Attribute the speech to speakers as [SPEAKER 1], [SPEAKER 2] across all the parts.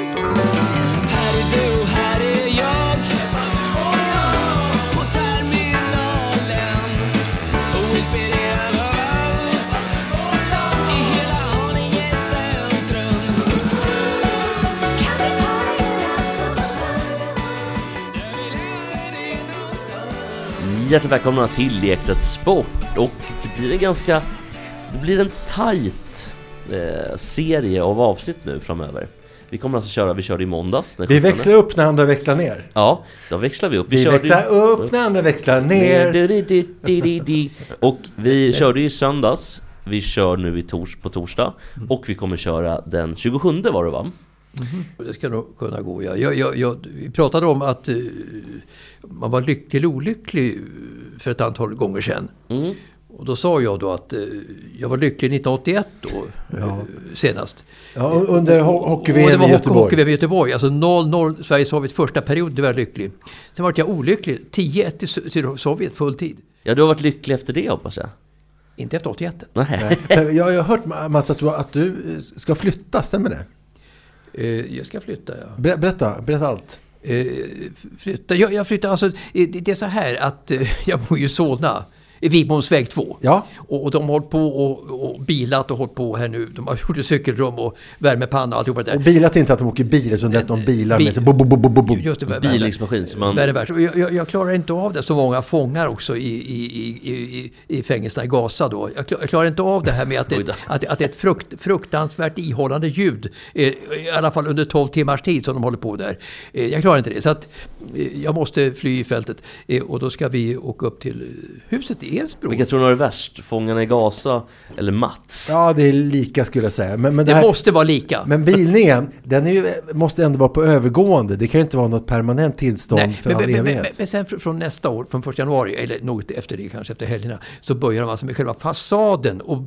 [SPEAKER 1] Här är du, här är jag På terminalen Och vi spelar överallt I hela Haninge centrum Kan vi ta en natt så var Jag vill även i någon
[SPEAKER 2] Hjärtligt välkomna till Lektet Sport och det blir en ganska... Det blir en tajt eh, serie av avsnitt nu framöver. Vi kommer alltså köra, vi körde i måndags den
[SPEAKER 3] Vi
[SPEAKER 2] 17.
[SPEAKER 3] växlar upp när andra växlar ner.
[SPEAKER 2] Ja, då växlar vi upp.
[SPEAKER 3] Vi,
[SPEAKER 2] körde ju-
[SPEAKER 3] växlar upp när andra växlar ner.
[SPEAKER 2] Du, du, du, du, du, du. Och vi körde ju i söndags, vi kör nu i tors på torsdag och vi kommer köra den 27 var det va?
[SPEAKER 4] Det ska nog kunna gå, ja. Jag, jag, jag, vi pratade om att eh, man var lycklig eller olycklig eh, för ett antal gånger sedan.
[SPEAKER 2] Mm.
[SPEAKER 4] Och då sa jag då att eh, jag var lycklig 1981 då, eh, senast.
[SPEAKER 3] Ja, och under ho-
[SPEAKER 4] och det
[SPEAKER 3] hockey-VM
[SPEAKER 4] var
[SPEAKER 3] i
[SPEAKER 4] hockey-
[SPEAKER 3] Göteborg.
[SPEAKER 4] hockey-VM i Göteborg. Alltså 0-0 Sverige-Sovjet första period, det var jag lycklig. Sen var jag olycklig 10-1 till Sö- till Sovjet full tid.
[SPEAKER 2] Ja, du har varit lycklig efter det hoppas jag?
[SPEAKER 4] Inte efter 81.
[SPEAKER 2] Nej.
[SPEAKER 3] Jag jag har hört Mats att du, att du eh, ska flytta, stämmer det?
[SPEAKER 4] Eh, jag ska flytta, ja.
[SPEAKER 3] Ber- Berätta, berätta allt.
[SPEAKER 4] Eh, flytta. Jag, jag flyttar alltså, eh, det, det är så här att eh, jag bor ju i Solna, i Vibholmsväg 2.
[SPEAKER 3] Ja.
[SPEAKER 4] Och, och de har hållit på och, och bilat och hållit på här nu. De har gjort cykelrum och värmepanna och alltihopa det
[SPEAKER 3] Och
[SPEAKER 4] där.
[SPEAKER 3] bilat inte att de åker bil, utan det är att de bilar
[SPEAKER 4] Bil-
[SPEAKER 3] med sig. Bo, bo, bo, bo, bo, bo.
[SPEAKER 4] Just det, vär- värme-
[SPEAKER 3] liksom.
[SPEAKER 2] Bilningsmaskin som man...
[SPEAKER 4] värme- värme. Och Jag, jag, jag klarar inte av det. Så många fångar också i, i, i, i, i fängelserna i Gaza då. Jag, klar, jag klarar inte av det här med att
[SPEAKER 2] Oj
[SPEAKER 4] det,
[SPEAKER 2] då.
[SPEAKER 4] att, att det är ett frukt, fruktansvärt ihållande ljud. Eh, I alla fall under 12 timmars tid som de håller på där. Eh, jag klarar inte det. Så att, eh, jag måste fly i fältet. Eh, och då ska vi åka upp till eh, huset i Edsbro.
[SPEAKER 2] Vilka tror ni har det värst? Fångarna i Gaza eller Mats?
[SPEAKER 3] Ja, det är lika skulle jag säga. Men, men, det
[SPEAKER 4] Det
[SPEAKER 3] här,
[SPEAKER 4] måste vara lika.
[SPEAKER 3] men bilningen, den är ju, måste ändå vara på övergående. Det kan ju inte vara något permanent tillstånd
[SPEAKER 4] Nej,
[SPEAKER 3] för
[SPEAKER 4] men,
[SPEAKER 3] all
[SPEAKER 4] men, men, men,
[SPEAKER 3] evighet.
[SPEAKER 4] men sen fr- från nästa år, från 1 januari, eller något efter det kanske, efter helgerna, så börjar de alltså med själva fasaden och eh,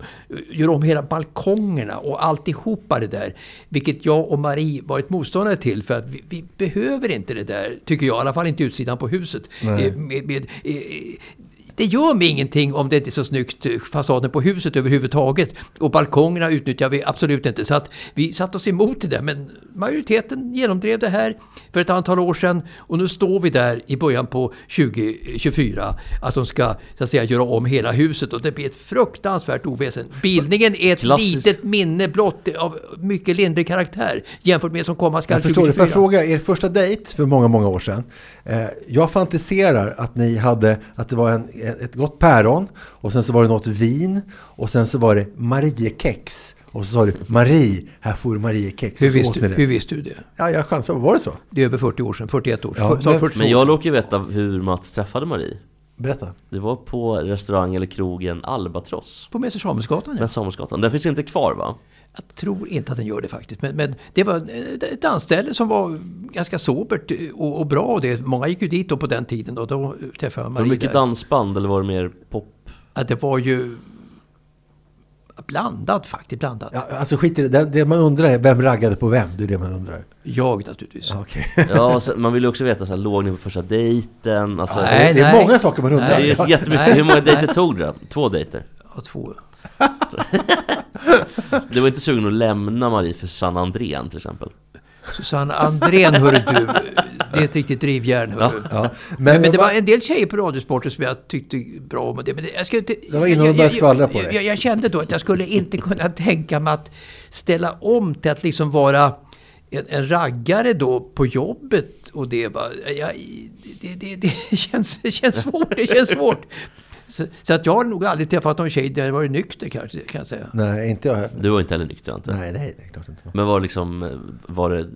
[SPEAKER 4] gör om hela balkongerna och alltihopa det där. Vilket jag och Marie varit motståndare till för att vi, vi behöver inte det där, tycker jag. I alla fall inte utsidan på huset.
[SPEAKER 3] Nej.
[SPEAKER 4] Eh, Med, med, eh, det gör mig ingenting om det inte är så snyggt eh, fasaden på huset överhuvudtaget. Och balkongerna utnyttjar vi absolut inte. Så att vi satte oss emot det där. Men majoriteten genomdrev det här för ett antal år sedan. Och nu står vi där i början på 2024. Att de ska så att säga, göra om hela huset. Och det blir ett fruktansvärt oväsen. Bildningen är ett
[SPEAKER 2] Klassiskt.
[SPEAKER 4] litet minne blott av mycket lindrig karaktär. Jämfört med som komma skall
[SPEAKER 3] Jag förstår det. Får jag
[SPEAKER 4] 2024.
[SPEAKER 3] fråga, er första dejt för många, många år sedan. Eh, jag fantiserar att ni hade, att det var en, ett gott päron och sen så var det något vin och sen så var det Mariekex. Och så sa du Marie, här får du Mariekex.
[SPEAKER 4] Hur
[SPEAKER 3] Och så åt
[SPEAKER 4] visste,
[SPEAKER 3] ni
[SPEAKER 4] du-
[SPEAKER 3] det.
[SPEAKER 4] hur visste du det?
[SPEAKER 3] Ja, jag chansar. Var det så?
[SPEAKER 4] Det är över 40 år sedan, 41 år sedan.
[SPEAKER 3] Ja,
[SPEAKER 4] Sa
[SPEAKER 3] men-
[SPEAKER 4] 42
[SPEAKER 2] Men jag råkar ju veta hur Mats träffade Marie.
[SPEAKER 3] Berätta.
[SPEAKER 2] Det var på restaurang eller krogen Albatross.
[SPEAKER 4] På Mäster Samuelsgatan, ja.
[SPEAKER 2] Men Samuelsgatan, den finns inte kvar va?
[SPEAKER 4] Jag tror inte att den gör det faktiskt. Men, men det var eh, ett dansställe som var ganska sobert eh, och, och bra. Och det, många gick ju dit då på den tiden och då träffade jag
[SPEAKER 2] Var det
[SPEAKER 4] Marie
[SPEAKER 2] mycket
[SPEAKER 4] där.
[SPEAKER 2] dansband eller var det mer pop?
[SPEAKER 4] Att det var ju blandat faktiskt, blandat.
[SPEAKER 3] Ja, alltså skit i det. det. Det man undrar är, vem raggade på vem? Det är det man undrar.
[SPEAKER 4] Jag naturligtvis.
[SPEAKER 3] Okay.
[SPEAKER 2] Ja, så, man vill ju också veta så här, låg ni på första dejten? Alltså,
[SPEAKER 4] Nej,
[SPEAKER 3] det är
[SPEAKER 4] nej.
[SPEAKER 3] många saker man undrar.
[SPEAKER 2] det är så jättemycket.
[SPEAKER 4] Nej.
[SPEAKER 2] Hur många dejter tog du då? Två dejter?
[SPEAKER 4] Ja, två.
[SPEAKER 2] Du var inte sugen att lämna Marie för San Andrén till exempel?
[SPEAKER 4] Susanne Andrén, hörru du. Det är ett riktigt drivjärn, hörru.
[SPEAKER 3] Ja,
[SPEAKER 4] Men,
[SPEAKER 3] men,
[SPEAKER 4] det var en del tjejer på Radiosporten som jag tyckte bra om. och Det, men det, jag ska inte,
[SPEAKER 3] Det var innan de
[SPEAKER 4] jag-
[SPEAKER 3] började
[SPEAKER 4] jag-
[SPEAKER 3] skvallra på dig.
[SPEAKER 4] jag, jag, jag kände då att jag skulle inte kunna tänka mig att ställa om till att liksom vara en, en raggare då på jobbet. Och det, va. jag, det, det, det, känns, det känns svårt. Det känns svårt. Så, så att jag har nog aldrig träffat någon tjej där jag varit nykter kanske, kan jag säga.
[SPEAKER 3] Nej, inte jag.
[SPEAKER 2] Du var inte heller nykter antar jag?
[SPEAKER 3] Nej, nej, det är klart inte.
[SPEAKER 2] Men var det liksom, var det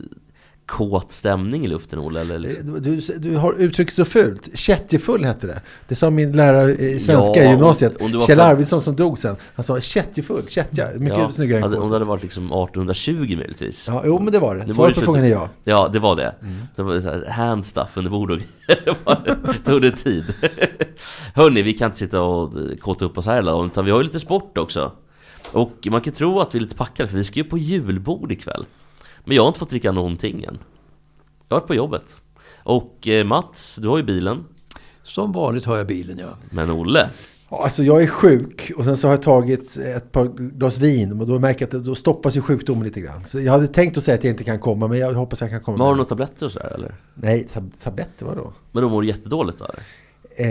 [SPEAKER 2] kåt stämning i luften, Olle? Eller liksom?
[SPEAKER 3] Eh, Du, du har uttryckt så fult. Kättjefull hette det. Det sa min lärare i svenska
[SPEAKER 2] Ja,
[SPEAKER 3] i gymnasiet.
[SPEAKER 2] om- om du var
[SPEAKER 3] Kjell
[SPEAKER 2] född-
[SPEAKER 3] Arvidsson som dog sen. Han sa kättjefull, kättja. Mycket
[SPEAKER 2] Ja,
[SPEAKER 3] snyggare än
[SPEAKER 2] hade- Om det
[SPEAKER 3] kåt.
[SPEAKER 2] hade varit liksom 1820 möjligtvis.
[SPEAKER 3] Ja, jo, men det var det.
[SPEAKER 2] Det var
[SPEAKER 3] Svaret
[SPEAKER 2] ju
[SPEAKER 3] på
[SPEAKER 2] så-
[SPEAKER 3] frågan är ja. Mm.
[SPEAKER 2] Ja, det var det. Det var så här hand stuff under bordet och grejer. Det var- tog det tid. Hörni, vi kan inte sitta och eh, kåta upp oss här hela dagen, utan vi har ju lite sport också. Och man kan tro att vi är lite packade, för vi ska ju på julbord ikväll. Men jag har inte fått dricka någonting än. Jag har varit på jobbet. Och eh, Mats, du har ju bilen.
[SPEAKER 4] Som vanligt har jag bilen, ja.
[SPEAKER 3] Mm.
[SPEAKER 2] Men Olle,
[SPEAKER 3] Ja, Alltså jag är sjuk och sen så har jag tagit ett par glas vin och då märker jag att då stoppas ju sjukdomen lite grann. Så jag hade tänkt att säga att jag inte kan komma men jag hoppas jag kan komma.
[SPEAKER 2] men har du några tabletter och sådär eller?
[SPEAKER 3] Nej, tab- tabletter vadå?
[SPEAKER 2] Men då mår du jättedåligt då eller?
[SPEAKER 3] Eh,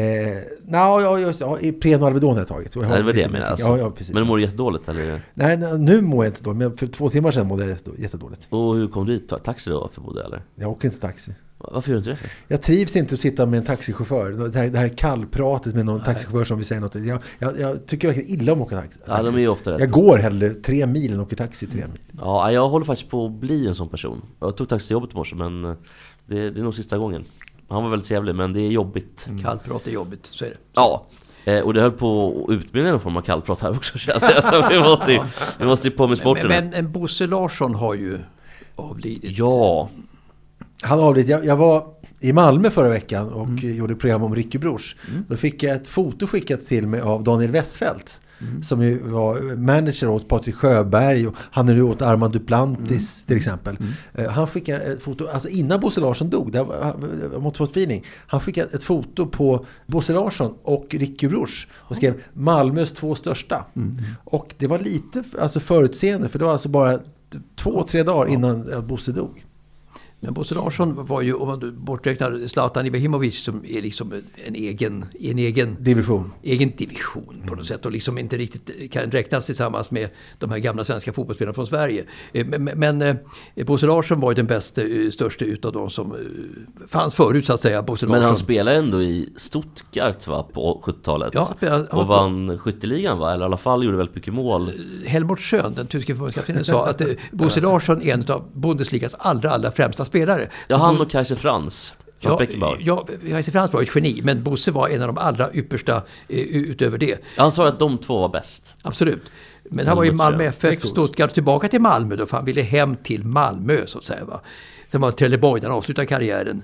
[SPEAKER 3] no, ja, just, ja, Ipren och Alvedon har jag tagit. Och jag har
[SPEAKER 2] Nej, det var det
[SPEAKER 3] lite-
[SPEAKER 2] jag menade alltså.
[SPEAKER 3] Ja, ja, precis.
[SPEAKER 2] Men då mår du jättedåligt eller?
[SPEAKER 3] Nej, nej, nu mår jag inte dåligt, men för två timmar sedan mådde jag jätte- jättedåligt.
[SPEAKER 2] Och hur kom du hit? Ta- Taxi då förmodar jag eller?
[SPEAKER 3] Jag åker inte taxi.
[SPEAKER 2] Varför gör du inte det? för?
[SPEAKER 3] Jag trivs inte att sitta med en taxichaufför. Det här, det här kallpratet med någon taxichaufför som vill säga något. Jag, jag, jag tycker verkligen illa om att åka taxi.
[SPEAKER 2] Ja, de är ju ofta rätt
[SPEAKER 3] Jag går hellre tre mil än åker taxi tre mil.
[SPEAKER 2] Ja, jag håller faktiskt på att bli en sån person. Jag tog taxi till jobbet i morse men eh, det, det är nog sista gången. Han var väldigt trevlig men det är jobbigt.
[SPEAKER 4] Kallprat är jobbigt, så är det.
[SPEAKER 2] Ja. Eh, Och det höll på att utmynna i någon form av kallprat här också kände jag. Så vi måste ju, vi måste ju på med sporten.
[SPEAKER 4] Men, men en Bosse Larsson har ju avlidit.
[SPEAKER 2] ja,
[SPEAKER 3] Han avled. Jag, jag var i Malmö förra veckan och gjorde ett program om Ricky Bruch. Då fick jag ett foto skickat till mig av Daniel Westfeldt. Som ju var manager åt Patrik Sjöberg och han är nu åt Armand Duplantis till exempel. Eh, Han skickade ett foto, alltså innan Bosse Larsson dog, det var, jag måste få ett feeling. Han skickade ett foto på Bosse Larsson och Ricky Bruch och skrev Malmös två största. Och det var lite alltså, förutseende för det var alltså bara t- två, tre dagar innan eh, Bosse dog.
[SPEAKER 4] Men Bosse Larsson var ju, om man då borträknar Zlatan Ibrahimovic som är liksom en egen, en egen
[SPEAKER 3] Division.
[SPEAKER 4] egen division på något sätt och liksom inte riktigt kan räknas tillsammans med de här gamla svenska fotbollsspelarna från Sverige. Eh, Men, men eh, Bosse Larsson var ju den bästa, eh, största utav de som eh, fanns förut så att säga. Bosse
[SPEAKER 2] men han
[SPEAKER 4] Larsson.
[SPEAKER 2] spelade ändå i Stuttgart va, på 70-talet.
[SPEAKER 4] Ja, han spelade- han
[SPEAKER 2] och
[SPEAKER 4] var- Eh,
[SPEAKER 2] vann skytteligan va? Eller i alla fall gjorde väldigt mycket mål.
[SPEAKER 4] Helmut Schön, den tyske förbundskaptenen, sa att eh, Bosse Larsson är en av Bundesligas allra, allra främsta spelare.
[SPEAKER 2] Ja,
[SPEAKER 4] Så
[SPEAKER 2] han
[SPEAKER 4] Bo-
[SPEAKER 2] och Kaiser Franz. Från
[SPEAKER 4] Ja,
[SPEAKER 2] Beckenbauer.
[SPEAKER 4] ja, Kaiser Franz var ju ett geni, men Bosse var en av de allra yppersta eh, utöver det.
[SPEAKER 2] Han sa att de två var bäst.
[SPEAKER 4] Absolut. Men han var ju i
[SPEAKER 2] Helmut Schön.
[SPEAKER 4] Malmö FF, Stuttgart, tillbaka till Malmö då, för han ville hem till Malmö så att säga. Va? Sen var Trelleborg, där han avslutade karriären.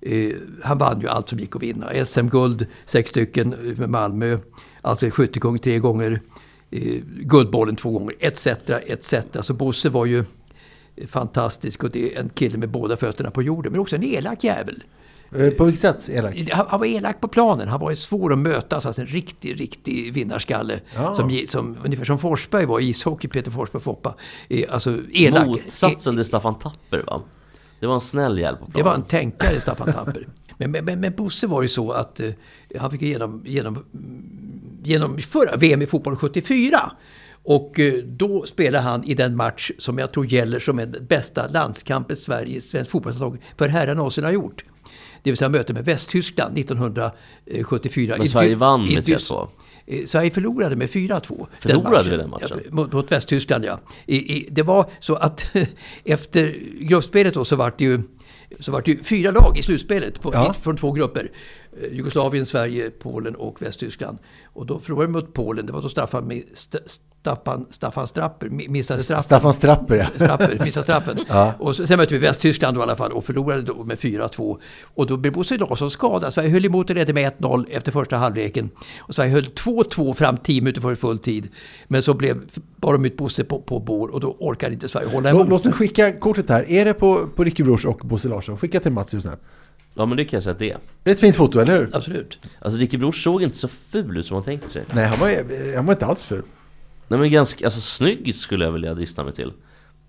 [SPEAKER 4] Eh, han vann ju allt som gick att vinna. SM-guld, sex stycken eh, med Malmö. Alltså skyttekung tre gånger. Eh, guldbollen två gånger, etc. etc. Så Bosse var ju fantastisk och det är en kille med båda fötterna på jorden. Men också en elak jävel.
[SPEAKER 3] Eh, På vilket sätt elak?
[SPEAKER 4] Han, han var elak på planen. Han var ju svår att möta. Alltså en riktig, riktig vinnarskalle.
[SPEAKER 3] Ja.
[SPEAKER 4] Som, ge- som, ungefär som Forsberg var i ishockey, Peter Forsberg Foppa. Eh, Alltså elak.
[SPEAKER 2] Motsatsen till Staffan Tapper va? Det var en snäll hjälp
[SPEAKER 4] Det var en tänkare, Staffan Tapper. Men, men, men, men Bosse var ju så att eh, han fick ju genom, genom, mm, genom förra VM i fotboll 74. Och eh, då spelade han i den match som jag tror gäller som den bästa landskampen Sverige, svensk fotbollslag för herrar någonsin har gjort. Det vill säga mötet med Västtyskland 1974.
[SPEAKER 2] Men
[SPEAKER 4] I
[SPEAKER 2] Sverige
[SPEAKER 4] Dy-
[SPEAKER 2] vann
[SPEAKER 4] i
[SPEAKER 2] med
[SPEAKER 4] Dys-
[SPEAKER 2] 3-2.
[SPEAKER 4] Eh, Sverige förlorade med 4-2.
[SPEAKER 2] Förlorade vi den matchen?
[SPEAKER 4] Ja, Mot, mot Västtyskland, ja. I, i, det var så att efter gruppspelet då så vart det ju så vart det ju fyra lag i slutspelet på,
[SPEAKER 3] Ja.
[SPEAKER 4] från två grupper. Eh, Jugoslavien, Sverige, Polen och Västtyskland. Och då förlorade vi mot Polen. Det var då Staffan, Mi- St- Staffan, Staffan Strapper mi- missade straffen.
[SPEAKER 3] Staffan Strapper, ja.
[SPEAKER 4] Strapper, missade straffen. Och så, sen mötte vi Västtyskland då i alla fall och förlorade då med 4-2. Och då blev Bosse Larsson skadad. Sverige höll emot och ledde med 1-0 efter första halvleken. Och Sverige höll 2-2 fram 10 minuter före full tid. Men så blev, bar de ut Bosse på, på bår och då orkade inte Sverige hålla
[SPEAKER 3] Låt,
[SPEAKER 4] emot.
[SPEAKER 3] låt mig skicka kortet här. Är det på, på Ricky Bruch och Bosse Larsson? Skicka till Mats just nu.
[SPEAKER 2] Ja men det kan jag säga att det är.
[SPEAKER 3] Det är ett fint foto, eller hur?
[SPEAKER 4] Absolut.
[SPEAKER 2] Alltså Ricky Bror såg inte så ful ut som man tänker sig.
[SPEAKER 3] Nej, han var, eh, han var inte alls ful.
[SPEAKER 2] Nej men ganska, alltså snygg skulle jag vilja drista mig till.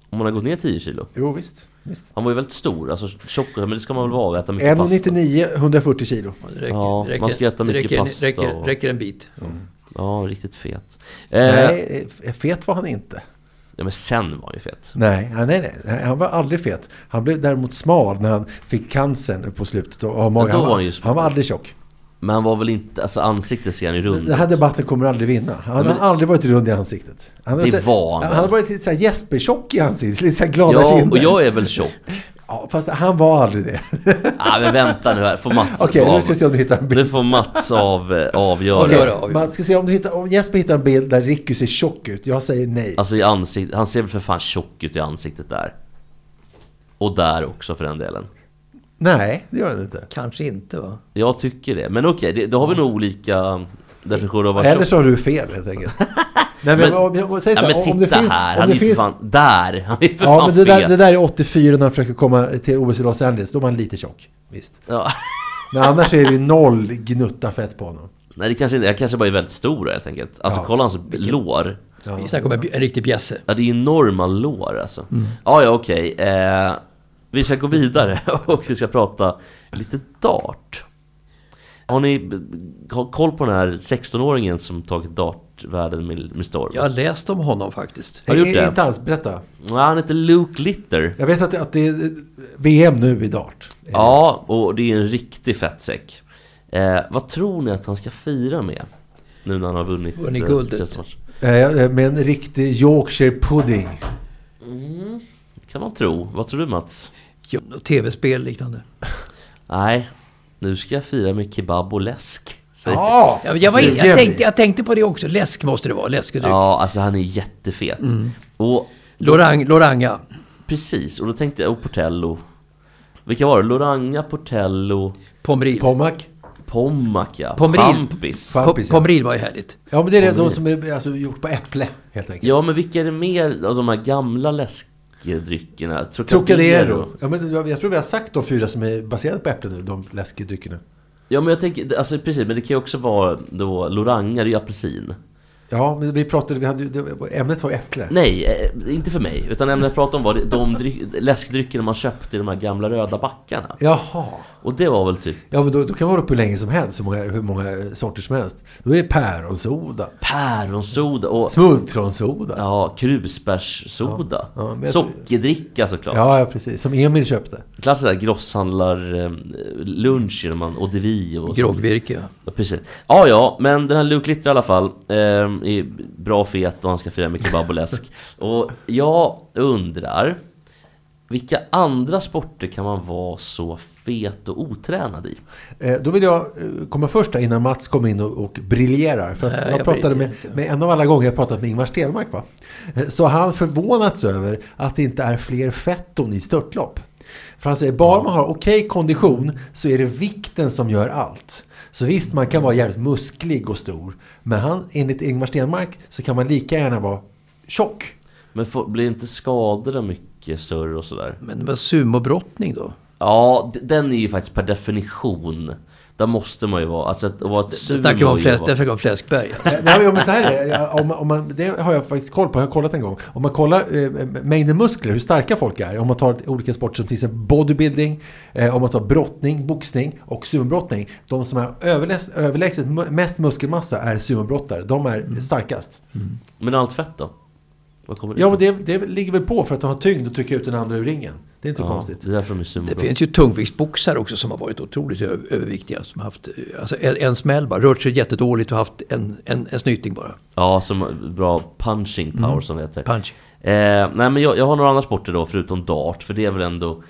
[SPEAKER 2] Om man har gått ner 10 kilo.
[SPEAKER 3] Jo, visst. visst.
[SPEAKER 2] Han var ju väldigt stor, alltså tjock, men det ska man väl vara, äta mycket pasta.
[SPEAKER 3] 1,99, 140 kilo.
[SPEAKER 2] Eh.
[SPEAKER 4] Det räcker,
[SPEAKER 2] Ja,
[SPEAKER 4] det räcker,
[SPEAKER 2] man ska äta
[SPEAKER 4] det
[SPEAKER 2] mycket
[SPEAKER 4] räcker,
[SPEAKER 2] pasta
[SPEAKER 4] Räcker,
[SPEAKER 2] och-
[SPEAKER 4] räcker en bit.
[SPEAKER 2] Ja, riktigt fet. Eh, nej.
[SPEAKER 3] Nej, eh, fet var han inte.
[SPEAKER 2] Ja, men sen var han ju fet.
[SPEAKER 3] Nej, nej, nej, nej, han var aldrig fet. Han blev däremot smal när han fick cancern på slutet. Och, och
[SPEAKER 2] då
[SPEAKER 3] han,
[SPEAKER 2] var han ju smal.
[SPEAKER 3] han var aldrig tjock.
[SPEAKER 2] Men han var väl inte, alltså ansiktet ser han ju rund
[SPEAKER 3] Den här debatten kommer aldrig vinna. Han
[SPEAKER 2] Mm. men-
[SPEAKER 3] har aldrig varit rund i ansiktet. Han har
[SPEAKER 2] Det
[SPEAKER 3] så-
[SPEAKER 2] var han.
[SPEAKER 3] Han har varit lite så här Jesper-tjock i ansiktet. Lite så här glada
[SPEAKER 2] Ja,
[SPEAKER 3] kinder.
[SPEAKER 2] och jag är väl tjock.
[SPEAKER 3] Ja, fast han var aldrig det.
[SPEAKER 2] Nej, men vänta nu här. Får Mats
[SPEAKER 3] Okej,
[SPEAKER 2] av...
[SPEAKER 3] nu ska vi se om du hittar en bild.
[SPEAKER 2] Nu får Mats av, eh, avgöra.
[SPEAKER 4] Okej.
[SPEAKER 3] Okej,
[SPEAKER 4] Gör det, avgör.
[SPEAKER 3] Man ska se om, du hittar, om Jesper hittar en bild där Ricky ser tjock ut. Jag säger nej.
[SPEAKER 2] Alltså i ansiktet. Han ser väl för fan tjock ut i ansiktet där. Och där också för den delen.
[SPEAKER 3] Nej, det gör han inte.
[SPEAKER 4] Kanske inte va?
[SPEAKER 2] Jag tycker det. Men okej, det, då har vi nog olika definitioner av vad
[SPEAKER 3] Eller
[SPEAKER 2] tjock...
[SPEAKER 3] så har du fel helt enkelt. nej, men,
[SPEAKER 2] Men-
[SPEAKER 3] om, jag, säg så,
[SPEAKER 2] Ja,
[SPEAKER 3] här,
[SPEAKER 2] men titta
[SPEAKER 3] om det finns...
[SPEAKER 2] här.
[SPEAKER 3] Om
[SPEAKER 2] Han är
[SPEAKER 3] det
[SPEAKER 2] ju för
[SPEAKER 3] finns
[SPEAKER 2] fan där. Han är ju för
[SPEAKER 3] ja,
[SPEAKER 2] fan
[SPEAKER 3] men det där,
[SPEAKER 2] fet.
[SPEAKER 3] det där är 84 när han försöker komma till OS i Los Angeles. Då var han lite tjock. Visst.
[SPEAKER 2] Ja.
[SPEAKER 3] Men annars är det ju noll gnutta fett på honom.
[SPEAKER 2] Nej, det kanske inte. Jag kanske bara är väldigt stor då, helt enkelt. Alltså kolla hans lår.
[SPEAKER 4] Vi snackar om en, en riktig bjässe.
[SPEAKER 2] Ja, det är enorma lår alltså.
[SPEAKER 3] Mm.
[SPEAKER 2] Ja, ja, okej. Eh, vi ska gå vidare och vi ska prata lite dart. Har ni b- har koll på den här 16-åringen som tagit dartvärlden med, med storm?
[SPEAKER 4] Jag har läst om honom faktiskt.
[SPEAKER 2] Har du gjort
[SPEAKER 3] Eh,
[SPEAKER 2] det?
[SPEAKER 3] Inte alls, berätta.
[SPEAKER 2] Ja, han heter Luke Litter.
[SPEAKER 3] Jag vet att det, att det är VM nu i dart.
[SPEAKER 2] Ja, och det är en riktig fettsäck. Eh, vad tror ni att han ska fira med? Nu när han har vunnit...
[SPEAKER 4] Vunnit
[SPEAKER 2] eh,
[SPEAKER 4] guldet.
[SPEAKER 2] chessmatch?
[SPEAKER 3] Eh, eh, Med en riktig Yorkshire pudding.
[SPEAKER 2] kan man tro. Vad tror du Mats?
[SPEAKER 4] Ja, något Tv-spel liknande.
[SPEAKER 2] Nej, nu ska jag fira med kebab och läsk. säger-
[SPEAKER 3] Ja,
[SPEAKER 4] Ja, men jag, var, in-
[SPEAKER 3] Ah, sugen
[SPEAKER 4] jag,
[SPEAKER 3] vi.
[SPEAKER 4] tänkte, jag tänkte på det också. Läsk måste det vara. Läsk och dryck.
[SPEAKER 2] Ja, alltså han är jättefet. Och
[SPEAKER 4] Lorang, Loranga.
[SPEAKER 2] precis, och då tänkte jag, och Portello. Vilka var det? Loranga, Portello,
[SPEAKER 4] Pomril.
[SPEAKER 3] Pommac.
[SPEAKER 2] Pommac ja.
[SPEAKER 4] Pomril.
[SPEAKER 2] Champis.
[SPEAKER 3] Fa-
[SPEAKER 4] Po- Pomril var ju härligt.
[SPEAKER 3] Ja, men det är de som är alltså, gjort på äpple, helt enkelt.
[SPEAKER 2] Ja, men vilka är det mer av de här gamla läskdryckerna?
[SPEAKER 3] Trocadero. Ja, men jag, jag tror vi har sagt de fyra som är baserade på äpple nu, de läskedryckerna.
[SPEAKER 2] Ja, men jag tänker, alltså precis, men det kan ju också vara då Loranga, det är ju apelsin.
[SPEAKER 3] Ja, men vi pratade, vi hade, ju- det, ämnet var äpple.
[SPEAKER 2] Nej, eh, inte för mig. Utan ämnet jag pratade om var de dryck, läskdryckerna man köpte i de här gamla röda backarna.
[SPEAKER 3] Jaha.
[SPEAKER 2] Och det var väl typ
[SPEAKER 3] Ja, men då, då kan man hålla på hur länge som helst, hur många, hur många sorter som helst. Då är det päronsoda,
[SPEAKER 2] päronsoda och
[SPEAKER 3] smultronsoda. Ja.
[SPEAKER 2] Ja, krusbärssoda.
[SPEAKER 3] Ja, ja, men jag-
[SPEAKER 2] Sockerdricka såklart.
[SPEAKER 3] Ja, precis. Som Emil köpte.
[SPEAKER 2] Klassiskt där eh, grosshandlarlunch när man och Devi och
[SPEAKER 4] Groggvirke. ja.
[SPEAKER 2] Ja, precis. Ja, ja, men den här Luke Litter i alla fall eh, är bra fet och han ska fira med kebab och läsk. och jag undrar, vilka andra sporter kan man vara så fet och otränad i?
[SPEAKER 3] Eh, Då vill jag eh, komma först där innan Mats kommer in och, och briljerar. För att
[SPEAKER 4] Nej,
[SPEAKER 3] jag
[SPEAKER 4] jag
[SPEAKER 3] pratade med,
[SPEAKER 4] briljerar
[SPEAKER 3] med en av alla gånger jag pratat med Ingmar Stenmark. Va? Eh, Så har han förvånats över att det inte är fler fetton i störtlopp. För han säger bara man har okej kondition så är det vikten som gör allt. Så visst, man kan vara jävligt musklig och stor. Men han, enligt Ingmar Stenmark så kan man lika gärna vara tjock.
[SPEAKER 2] Men får, blir inte skadorna mycket större och sådär?
[SPEAKER 4] Men vad sumobrottning då?
[SPEAKER 2] Ja, d- den är ju faktiskt per definition. Där måste man ju vara. Alltså att, att vara ett
[SPEAKER 4] Sen snackar vi om,
[SPEAKER 2] sumo är
[SPEAKER 4] fläsk,
[SPEAKER 2] ju-
[SPEAKER 4] där snackar vi om fläskberg. ja.
[SPEAKER 3] Eh, Nej, men så här är det. Om, man- om man, det har jag faktiskt koll på. Jag har kollat en gång. Om man kollar eh, mängden muskler, hur starka folk är. Om man tar olika sporter som till exempel bodybuilding, eh, om man tar brottning, boxning och sumobrottning. De som har överläs- överlägset mu- mest muskelmassa är sumobrottare. De är
[SPEAKER 2] Mm.
[SPEAKER 3] starkast.
[SPEAKER 2] Men allt fett då? Vad kommer det
[SPEAKER 3] Ja,
[SPEAKER 2] ifrån?
[SPEAKER 3] men det, det ligger väl på för att de har tyngd och trycker ut den andra ur ringen. Det är inte så konstigt.
[SPEAKER 2] Det är därför de är sumobrottare.
[SPEAKER 4] Det finns ju tungviktsboxare också som har varit otroligt ö- överviktiga. Som har haft eh, alltså en, en smäll bara, rört sig jättedåligt och haft en, en, en snyting bara.
[SPEAKER 2] Ja, som bra punching power
[SPEAKER 3] Mm.
[SPEAKER 2] som det heter.
[SPEAKER 4] Punch.
[SPEAKER 2] Eh, nej, men jag, jag har några andra sporter då, förutom dart. För det är väl ändå...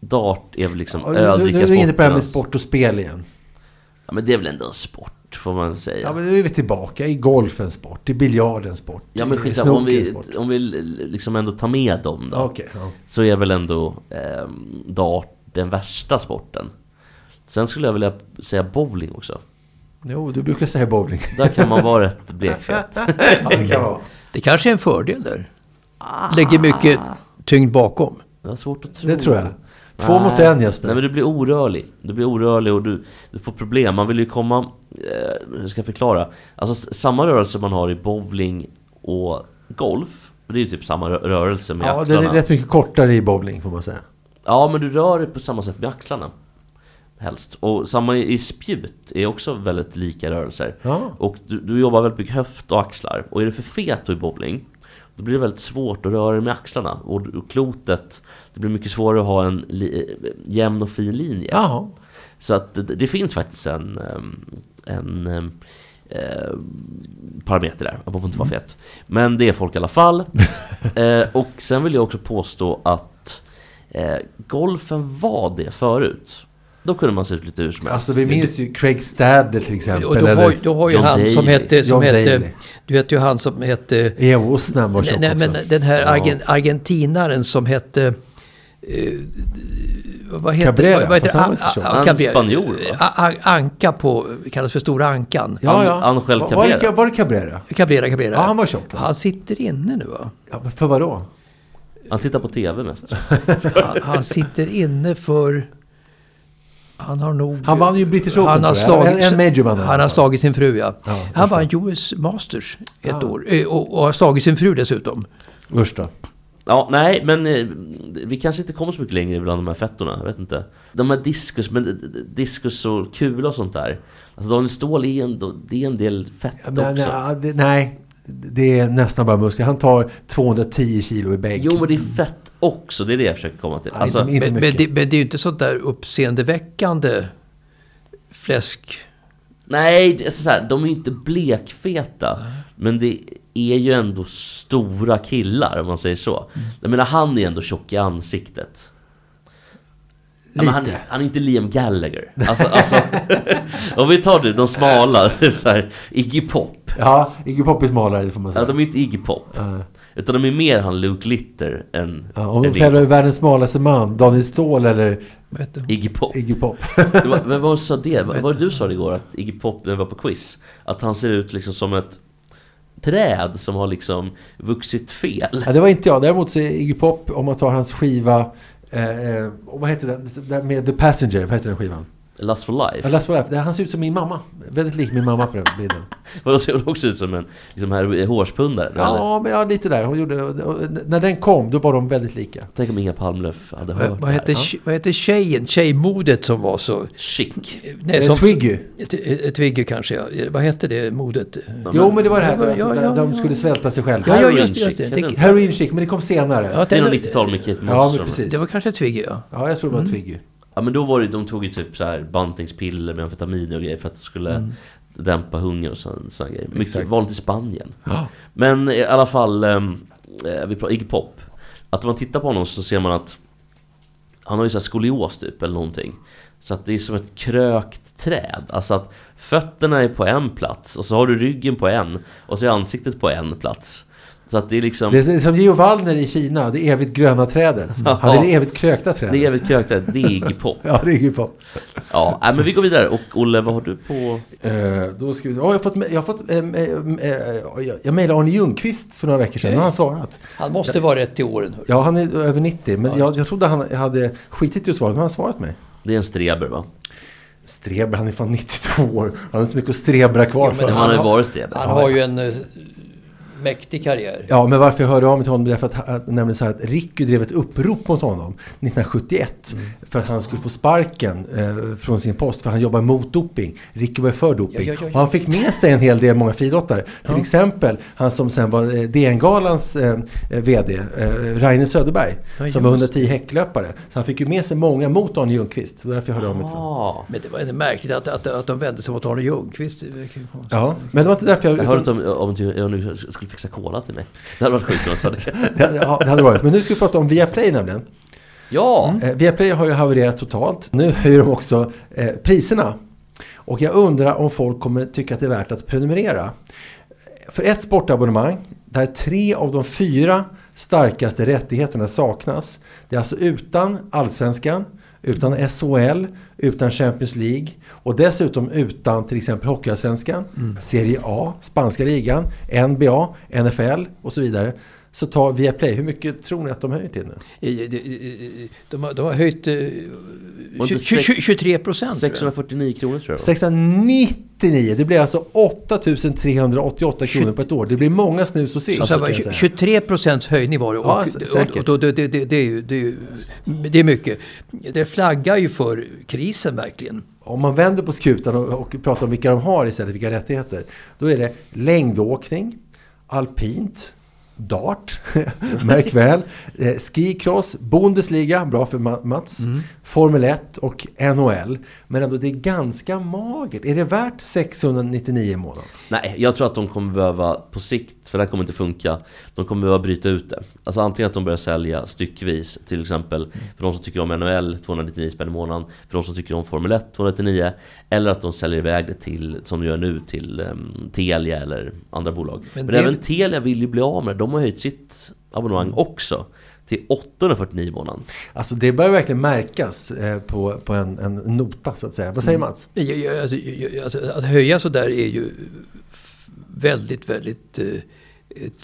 [SPEAKER 2] Dart är väl liksom
[SPEAKER 3] Ja, Nu, nu, nu är vi inne på det här med
[SPEAKER 2] öldrickarsporternas...
[SPEAKER 3] sport och spel igen.
[SPEAKER 2] Ja, men det är väl ändå en sport, får man säga.
[SPEAKER 3] Ja, men nu är vi tillbaka i golfens sport, i biljardens sport,
[SPEAKER 2] Ja, men
[SPEAKER 3] i
[SPEAKER 2] skitsamma, om vi,
[SPEAKER 3] snookerns sport.
[SPEAKER 2] om vi liksom ändå tar med dem då.
[SPEAKER 3] Ja, Okej, ja.
[SPEAKER 2] Så är väl ändå ehm, dart den värsta sporten. Sen skulle jag vilja säga bowling också.
[SPEAKER 3] Jo, du brukar säga bowling.
[SPEAKER 2] Där kan man vara rätt blekfet.
[SPEAKER 3] Ja, det kan vara.
[SPEAKER 4] Det kanske är en fördel där. Lägger mycket tyngd bakom.
[SPEAKER 2] Jag har svårt att tro
[SPEAKER 3] Det tror jag. Två mot en Jesper.
[SPEAKER 2] Nej men du blir orörlig. Du blir orörlig och du, du får problem. Man vill ju komma... Eh, hur ska jag förklara? Alltså s- samma rörelse man har i bowling och golf. Det är ju typ samma rö- rörelse med
[SPEAKER 3] ja, det
[SPEAKER 2] axlarna.
[SPEAKER 3] är rätt mycket kortare i bowling får man säga.
[SPEAKER 2] Ja men du rör dig på samma sätt med axlarna. Helst. Och samma i i spjut är också väldigt lika rörelser.
[SPEAKER 3] Ja.
[SPEAKER 2] Och du, du jobbar väldigt mycket höft och axlar. Och är du för fet då i bowling, då blir det väldigt svårt att röra dig med axlarna. Och, och klotet, det blir mycket svårare att ha en li, jämn och fin linje.
[SPEAKER 3] Jaha.
[SPEAKER 2] Så att det, det finns faktiskt en, ehm, en ehm, eh, parameter där, att man får inte vara fet. Men det är folk i alla fall. eh, och sen vill jag också påstå att Eh, golfen var det förut. Då kunde man se ut lite hur som helst.
[SPEAKER 3] Alltså vi minns ju Craig Stadler till exempel.
[SPEAKER 4] Och då har,
[SPEAKER 3] eller
[SPEAKER 4] då har ju
[SPEAKER 2] John
[SPEAKER 4] han som
[SPEAKER 2] Daly.
[SPEAKER 4] hette... Som
[SPEAKER 3] John
[SPEAKER 4] hette
[SPEAKER 3] Daly.
[SPEAKER 4] du vet ju han som hette...
[SPEAKER 3] Ian Woosnam var
[SPEAKER 4] Nej,
[SPEAKER 3] tjock
[SPEAKER 4] nej,
[SPEAKER 3] också.
[SPEAKER 4] men den här argen, argentinaren som hette... eh, vad heter,
[SPEAKER 3] Cabrera,
[SPEAKER 4] vad, vad heter
[SPEAKER 3] fast han var inte
[SPEAKER 4] An-
[SPEAKER 3] tjock.
[SPEAKER 4] An-
[SPEAKER 2] Han är
[SPEAKER 4] Cabrera.
[SPEAKER 2] spanjor, va?
[SPEAKER 4] A- a- Anka på, kallas för Stora Ankan.
[SPEAKER 3] ja, ja.
[SPEAKER 2] An- Angel
[SPEAKER 3] Var- Var,
[SPEAKER 2] Cabrera.
[SPEAKER 3] det- var det Cabrera?
[SPEAKER 4] Cabrera, Cabrera.
[SPEAKER 3] Ja, han var tjock, va?
[SPEAKER 4] Han sitter inne nu va?
[SPEAKER 3] Ja, men för vadå? Alltså-
[SPEAKER 2] Han tittar på TV mest.
[SPEAKER 4] Han, han sitter inne för... Han har nog...
[SPEAKER 3] Han vann ju British Open
[SPEAKER 4] han har
[SPEAKER 3] tror jag.
[SPEAKER 4] slagit,
[SPEAKER 3] En, en major vann
[SPEAKER 4] Han har slagit sin fru ja. han vann US Masters ett år. eh, Och, och har slagit sin fru dessutom.
[SPEAKER 3] Usch då.
[SPEAKER 2] Ja, nej, men eh, vi kanske inte kommer så mycket längre bland de här fettorna. Jag vet inte. De här diskus, men eh, diskus och kula och sånt där. Alltså Daniel Ståhl är en, det är en del fett
[SPEAKER 3] Men,
[SPEAKER 2] också.
[SPEAKER 3] ja, det, nej, det är nästan bara muskler. Han tar 210 kilo i bänk.
[SPEAKER 2] Jo, men det är fett också. Det är det jag försöker komma till.
[SPEAKER 3] Nej,
[SPEAKER 2] Alltså,
[SPEAKER 3] inte, inte
[SPEAKER 4] Men, men,
[SPEAKER 3] mycket.
[SPEAKER 4] det, men det är ju inte sånt där uppseendeväckande fläsk.
[SPEAKER 2] nej, det är så här, de är ju inte blekfeta. Men det är ju ändå stora killar, om man säger så.
[SPEAKER 3] Mm.
[SPEAKER 2] Jag menar, han är ändå tjock i ansiktet. Ja, men han,
[SPEAKER 3] Lite.
[SPEAKER 2] han är inte Liam Gallagher. Alltså, alltså, om vi tar det, de smala, typ så här, Iggy Pop.
[SPEAKER 3] Ja, Iggy Pop är smalare, det får man
[SPEAKER 2] Ja,
[SPEAKER 3] säga.
[SPEAKER 2] de är inte Iggy Pop. Utan de är mer han Luke Litter än
[SPEAKER 3] Ja, om
[SPEAKER 2] än
[SPEAKER 3] de tävlar i världens smalaste man, Daniel Ståhl eller
[SPEAKER 4] Vad heter det?
[SPEAKER 2] Iggy Pop.
[SPEAKER 3] Iggy Pop.
[SPEAKER 2] Det var- Vem var det som sa det? Vad var det du sa det igår? Att Iggy Pop, när vi var på quiz, att han ser ut liksom som ett träd som har liksom vuxit fel.
[SPEAKER 3] Ja, det var inte jag. Däremot så är Iggy Pop, om man tar hans skiva, eh, eh, och vad heter den? Den Med The Passenger, vad heter den skivan?
[SPEAKER 2] Lust for
[SPEAKER 3] Ja,
[SPEAKER 2] life.
[SPEAKER 3] Last for Life. Det- Han ser ut som min mamma. Väldigt lik min mamma på den bilden.
[SPEAKER 2] Vadå, ser hon också ut som en liksom här, hårspundare? eller?
[SPEAKER 3] Ja, men ja, lite där. Hon gjorde, och när den kom, då var de väldigt lika.
[SPEAKER 2] Tänk om Inga Palmlöf hade hört
[SPEAKER 4] Vad, vad,
[SPEAKER 2] det
[SPEAKER 4] heter,
[SPEAKER 2] här.
[SPEAKER 4] tje- vad heter tjejen? Tjejmodet som var så...
[SPEAKER 2] Chic.
[SPEAKER 4] Nej,
[SPEAKER 3] Eh, Twiggy.
[SPEAKER 4] Ett- ett Twiggy kanske ja. Eh, Vad hette det modet?
[SPEAKER 3] Jo, men det var det här
[SPEAKER 4] Ja,
[SPEAKER 3] alltså,
[SPEAKER 4] ja,
[SPEAKER 3] där
[SPEAKER 4] ja,
[SPEAKER 3] de
[SPEAKER 4] ja.
[SPEAKER 3] skulle svälta sig själva.
[SPEAKER 4] Ja, ja
[SPEAKER 2] Heroin
[SPEAKER 4] just det. Just det.
[SPEAKER 2] chic,
[SPEAKER 4] det,
[SPEAKER 2] heter
[SPEAKER 3] Heroin chic, men det kom senare.
[SPEAKER 4] jag
[SPEAKER 3] Ja,
[SPEAKER 2] Det är
[SPEAKER 4] tänkte-
[SPEAKER 2] nog 90-tal med Kate
[SPEAKER 3] men
[SPEAKER 2] Moss.
[SPEAKER 3] precis.
[SPEAKER 4] det var kanske Twiggy ja.
[SPEAKER 3] Ja, jag tror det var Twiggy.
[SPEAKER 2] Ja men då var det, de tog ju typ så här bantningspiller med amfetamin och grejer för att det skulle
[SPEAKER 3] Mm.
[SPEAKER 2] dämpa hunger och sådana såna grejer. Mycket valt i Spanien. Men i alla fall, ehm, eh, vi pratar Iggy Pop. Att om man tittar på honom så ser man att han har ju så här skolios typ eller någonting. Så att det är som ett krökt träd. Alltså att fötterna är på en plats och så har du ryggen på en och så är ansiktet på en plats. Så att det är liksom...
[SPEAKER 3] Det är som Geo Wallner i Kina, det evigt gröna trädet. Han är det evigt krökta trädet.
[SPEAKER 2] Det är väl krökt träd, det är Iggy Pop.
[SPEAKER 3] Ja, det är Iggy Pop.
[SPEAKER 2] Ja, nej, men vi går vidare. Och Olle, vad har du på...
[SPEAKER 3] Eh, då ska vi, ja, jag har fått, jag har fått eh, eh, eh, jag mejlade Arne Ljungqvist för några veckor sedan, och han har svarat.
[SPEAKER 4] Han måste vara rätt i åren. hör.
[SPEAKER 3] Ja, han är över 90, men jag, jag trodde han hade skitit i att svara, men han har svarat mig.
[SPEAKER 2] Det är en streber va?
[SPEAKER 3] Streber, han är fan 92 år. Han har inte så mycket att strebra kvar
[SPEAKER 4] Ja,
[SPEAKER 3] för.
[SPEAKER 4] men
[SPEAKER 2] han har ju varit streber.
[SPEAKER 4] Han har ju en eh, mäktig karriär.
[SPEAKER 3] Ja, men varför jag hörde av mig till honom, därför att, att nämligen så här att Ricky drev ett upprop mot honom 1971
[SPEAKER 4] Mm.
[SPEAKER 3] för att han skulle få sparken eh, från sin post, för han jobbar mot doping. Ricky var ju för doping.
[SPEAKER 4] Ja, ja, ja, ja.
[SPEAKER 3] Och han fick med sig en hel del många friidrottare. Till exempel han som sen var eh, DN-galans eh, eh, VD, eh, Rainer Söderberg, som var 110 häcklöpare. Så han fick ju med sig många mot Arne Ljungqvist. Det var därför jag hörde av mig till honom.
[SPEAKER 2] Ja.
[SPEAKER 4] Men det var ändå märkligt att, att, att de vände sig mot Arne Ljungqvist. Det verkar ju konstigt.
[SPEAKER 3] Ja, men det var inte därför jag...
[SPEAKER 2] Jag
[SPEAKER 3] utan-
[SPEAKER 2] hörde om, om du jag nu skulle fixa cola till mig. Det hade varit sjukt om jag sa det.
[SPEAKER 3] det, ja, det hade varit. Men nu ska vi prata om Viaplay nämligen.
[SPEAKER 2] Ja!
[SPEAKER 3] Eh, Viaplay har ju havererat totalt. Nu höjer de också eh, priserna. Och jag undrar om folk kommer tycka att det är värt att prenumerera. För ett sportabonnemang där tre av de fyra starkaste rättigheterna saknas. Det är alltså utan allsvenskan, utan SHL, utan Champions League och dessutom utan till exempel Hockeyallsvenskan, Serie A, Spanska ligan, NBA, NFL och så vidare. Så tar Viaplay, hur mycket tror ni att de höjer till nu?
[SPEAKER 4] I- i- i- i- De har, de har höjt eh,
[SPEAKER 2] Och inte
[SPEAKER 4] 20
[SPEAKER 2] sex-
[SPEAKER 4] 20 23 procent. tror jag.
[SPEAKER 2] 649 kronor tror jag.
[SPEAKER 3] 699, det blir alltså 8388 kronor på ett år. Det blir många snus och sill.
[SPEAKER 4] Så här,
[SPEAKER 3] kan jag
[SPEAKER 4] tju-
[SPEAKER 3] säga.
[SPEAKER 4] 23 procents höjning var det. Och,
[SPEAKER 3] Ja, s-
[SPEAKER 4] och, och
[SPEAKER 3] säkert.
[SPEAKER 4] då, det, det, det, det, är ju, det, är ju, det är mycket. Det flaggar ju för krisen verkligen.
[SPEAKER 3] Om man vänder på skutan och, och pratar om vilka de har istället, vilka rättigheter. Då är det längdåkning, alpint, dart, märk väl, eh, skicross, Bundesliga, bra för Ma- Mats,
[SPEAKER 2] Mm.
[SPEAKER 3] Formel 1 och NHL. Men ändå, det är ganska magert. Är det värt 699 i månaden?
[SPEAKER 2] Nej, jag tror att de kommer behöva på sikt, för det här kommer inte funka, de kommer behöva bryta ut det. Alltså antingen att de börjar sälja styckvis, till exempel för de som tycker om NHL 299 spänn i månaden, för de som tycker om Formel 1 299, eller att de säljer iväg det till, som de gör nu, till um, Telia eller andra bolag.
[SPEAKER 4] Men
[SPEAKER 2] Men,
[SPEAKER 4] det-
[SPEAKER 2] även Telia vill ju bli av med det, de har höjt sitt abonnemang också till 849 i månaden.
[SPEAKER 3] Alltså det börjar verkligen märkas eh, på, på en, en nota så att säga. Vad säger
[SPEAKER 2] Mm.
[SPEAKER 3] Mats?
[SPEAKER 4] Jag- jag- Alltså, jag- jag- alltså, att höja så där är ju väldigt, väldigt eh, eh,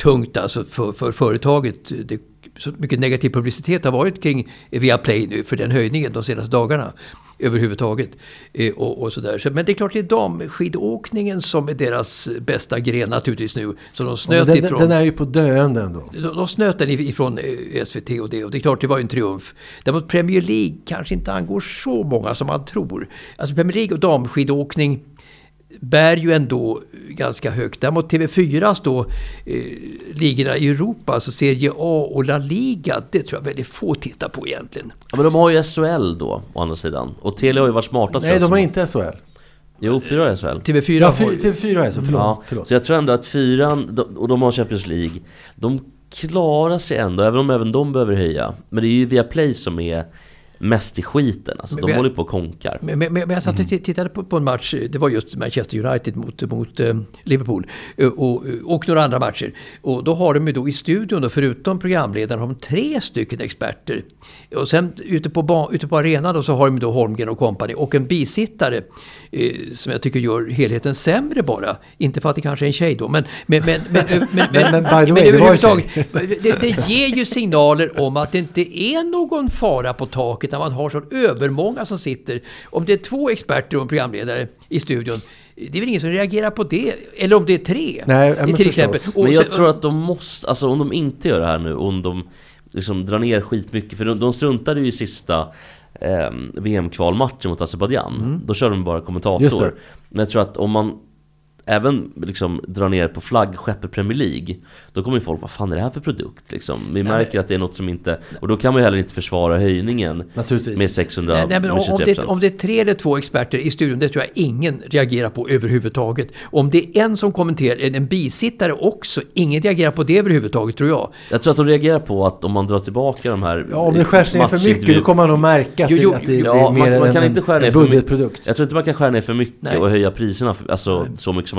[SPEAKER 4] tungt alltså för, för företaget. Det, så mycket negativ publicitet har varit kring Viaplay nu för den höjningen de senaste dagarna överhuvudtaget. Eh, Och, och sådär. Så, men det är klart det är damskidåkningen som är deras bästa gren naturligtvis nu. Så de
[SPEAKER 3] Den,
[SPEAKER 4] snöt
[SPEAKER 3] den,
[SPEAKER 4] ifrån.
[SPEAKER 3] den är ju på döende ändå.
[SPEAKER 4] De de snöt den if- ifrån eh, SVT och det, och det är klart det var ju en triumf. Däremot Premier League kanske inte angår så många som man tror. Alltså Premier League och damskidåkning bär ju ändå ganska högt. Däremot TV4s då, eh, ligorna i Europa, så Serie A och La Liga, det tror jag väldigt få tittar på egentligen.
[SPEAKER 2] Ja, men de har ju SHL då, å andra sidan. Och Telia har ju varit smarta tror
[SPEAKER 3] Nej,
[SPEAKER 2] jag,
[SPEAKER 3] de
[SPEAKER 2] som-
[SPEAKER 3] har inte SHL.
[SPEAKER 2] Jo, fyra har SHL.
[SPEAKER 4] TV4
[SPEAKER 3] Ja,
[SPEAKER 4] har
[SPEAKER 3] fy-
[SPEAKER 4] ju-
[SPEAKER 3] TV4 är så, förlåt.
[SPEAKER 2] Ja,
[SPEAKER 3] förlåt.
[SPEAKER 2] Så jag tror ändå att fyran, de- och de har Champions League, de klarar sig ändå, även om även de behöver höja. Men det är ju Viaplay som är mest i skiten. Alltså,
[SPEAKER 4] Men
[SPEAKER 2] de
[SPEAKER 4] vi-
[SPEAKER 2] håller på och konkar.
[SPEAKER 4] Men, men, men men jag satt och
[SPEAKER 3] Mm.
[SPEAKER 4] ti- tittade på, på en match, eh, det var just Manchester United mot, mot eh, Liverpool eh, och, eh, och några andra matcher. Och då har de ju då i studion, då, förutom programledaren, har de tre stycken experter. Och sen ute på, ba- ute på arenan då, så har de då Holmgren och kompani och en bisittare eh, som jag tycker gör helheten sämre bara. Inte för att det kanske är en tjej då, men... men, men, men, men,
[SPEAKER 3] Men-
[SPEAKER 4] men,
[SPEAKER 3] men by the way, det var ju
[SPEAKER 4] överhuvudtaget- det, det ger ju signaler om att det inte är någon fara på taket när man har så övermånga som sitter. Om det är två experter och en programledare i studion, det är väl ingen som reagerar på det. Eller om det är tre,
[SPEAKER 3] Nej, ja, men
[SPEAKER 4] till
[SPEAKER 3] förstås.
[SPEAKER 4] exempel. Och
[SPEAKER 2] Men jag
[SPEAKER 4] sen-
[SPEAKER 2] tror att de måste, alltså om de inte gör det här nu, och om de liksom drar ner skitmycket, för de, de struntade ju i sista eh, VM-kvalmatchen mot Azerbajdzjan. Då körde de bara
[SPEAKER 3] Mm. Just det.
[SPEAKER 2] kommentator. Men jag tror att om man även liksom drar ner på flaggskeppet Premier League, då kommer ju folk, vad fan är det här för produkt? Liksom, vi märker att det är något som inte, och då kan man ju heller inte försvara höjningen
[SPEAKER 3] Naturligtvis.
[SPEAKER 2] med 600,
[SPEAKER 4] Nej, nej, men om,
[SPEAKER 2] med
[SPEAKER 4] om,
[SPEAKER 2] 23%.
[SPEAKER 4] det, om det är tre eller två experter i studion, det tror jag ingen reagerar på överhuvudtaget. Om det är en som kommenterar, en, en bisittare också, ingen reagerar på det överhuvudtaget tror jag.
[SPEAKER 2] Jag tror att de reagerar på att om man drar tillbaka de här
[SPEAKER 3] Ja, om det skärs ner för mycket
[SPEAKER 2] matchintervju-
[SPEAKER 3] då kommer man att märka att,
[SPEAKER 4] Jo, jo,
[SPEAKER 3] det- att det
[SPEAKER 4] jo,
[SPEAKER 3] blir
[SPEAKER 2] Ja,
[SPEAKER 3] mer
[SPEAKER 2] man, man
[SPEAKER 3] än
[SPEAKER 2] kan
[SPEAKER 3] en,
[SPEAKER 2] inte skära ner
[SPEAKER 3] en
[SPEAKER 2] för mycket.
[SPEAKER 3] budgetprodukt.
[SPEAKER 2] Jag tror inte man kan skära ner för mycket
[SPEAKER 4] Nej.
[SPEAKER 2] och höja priserna för, alltså, så mycket som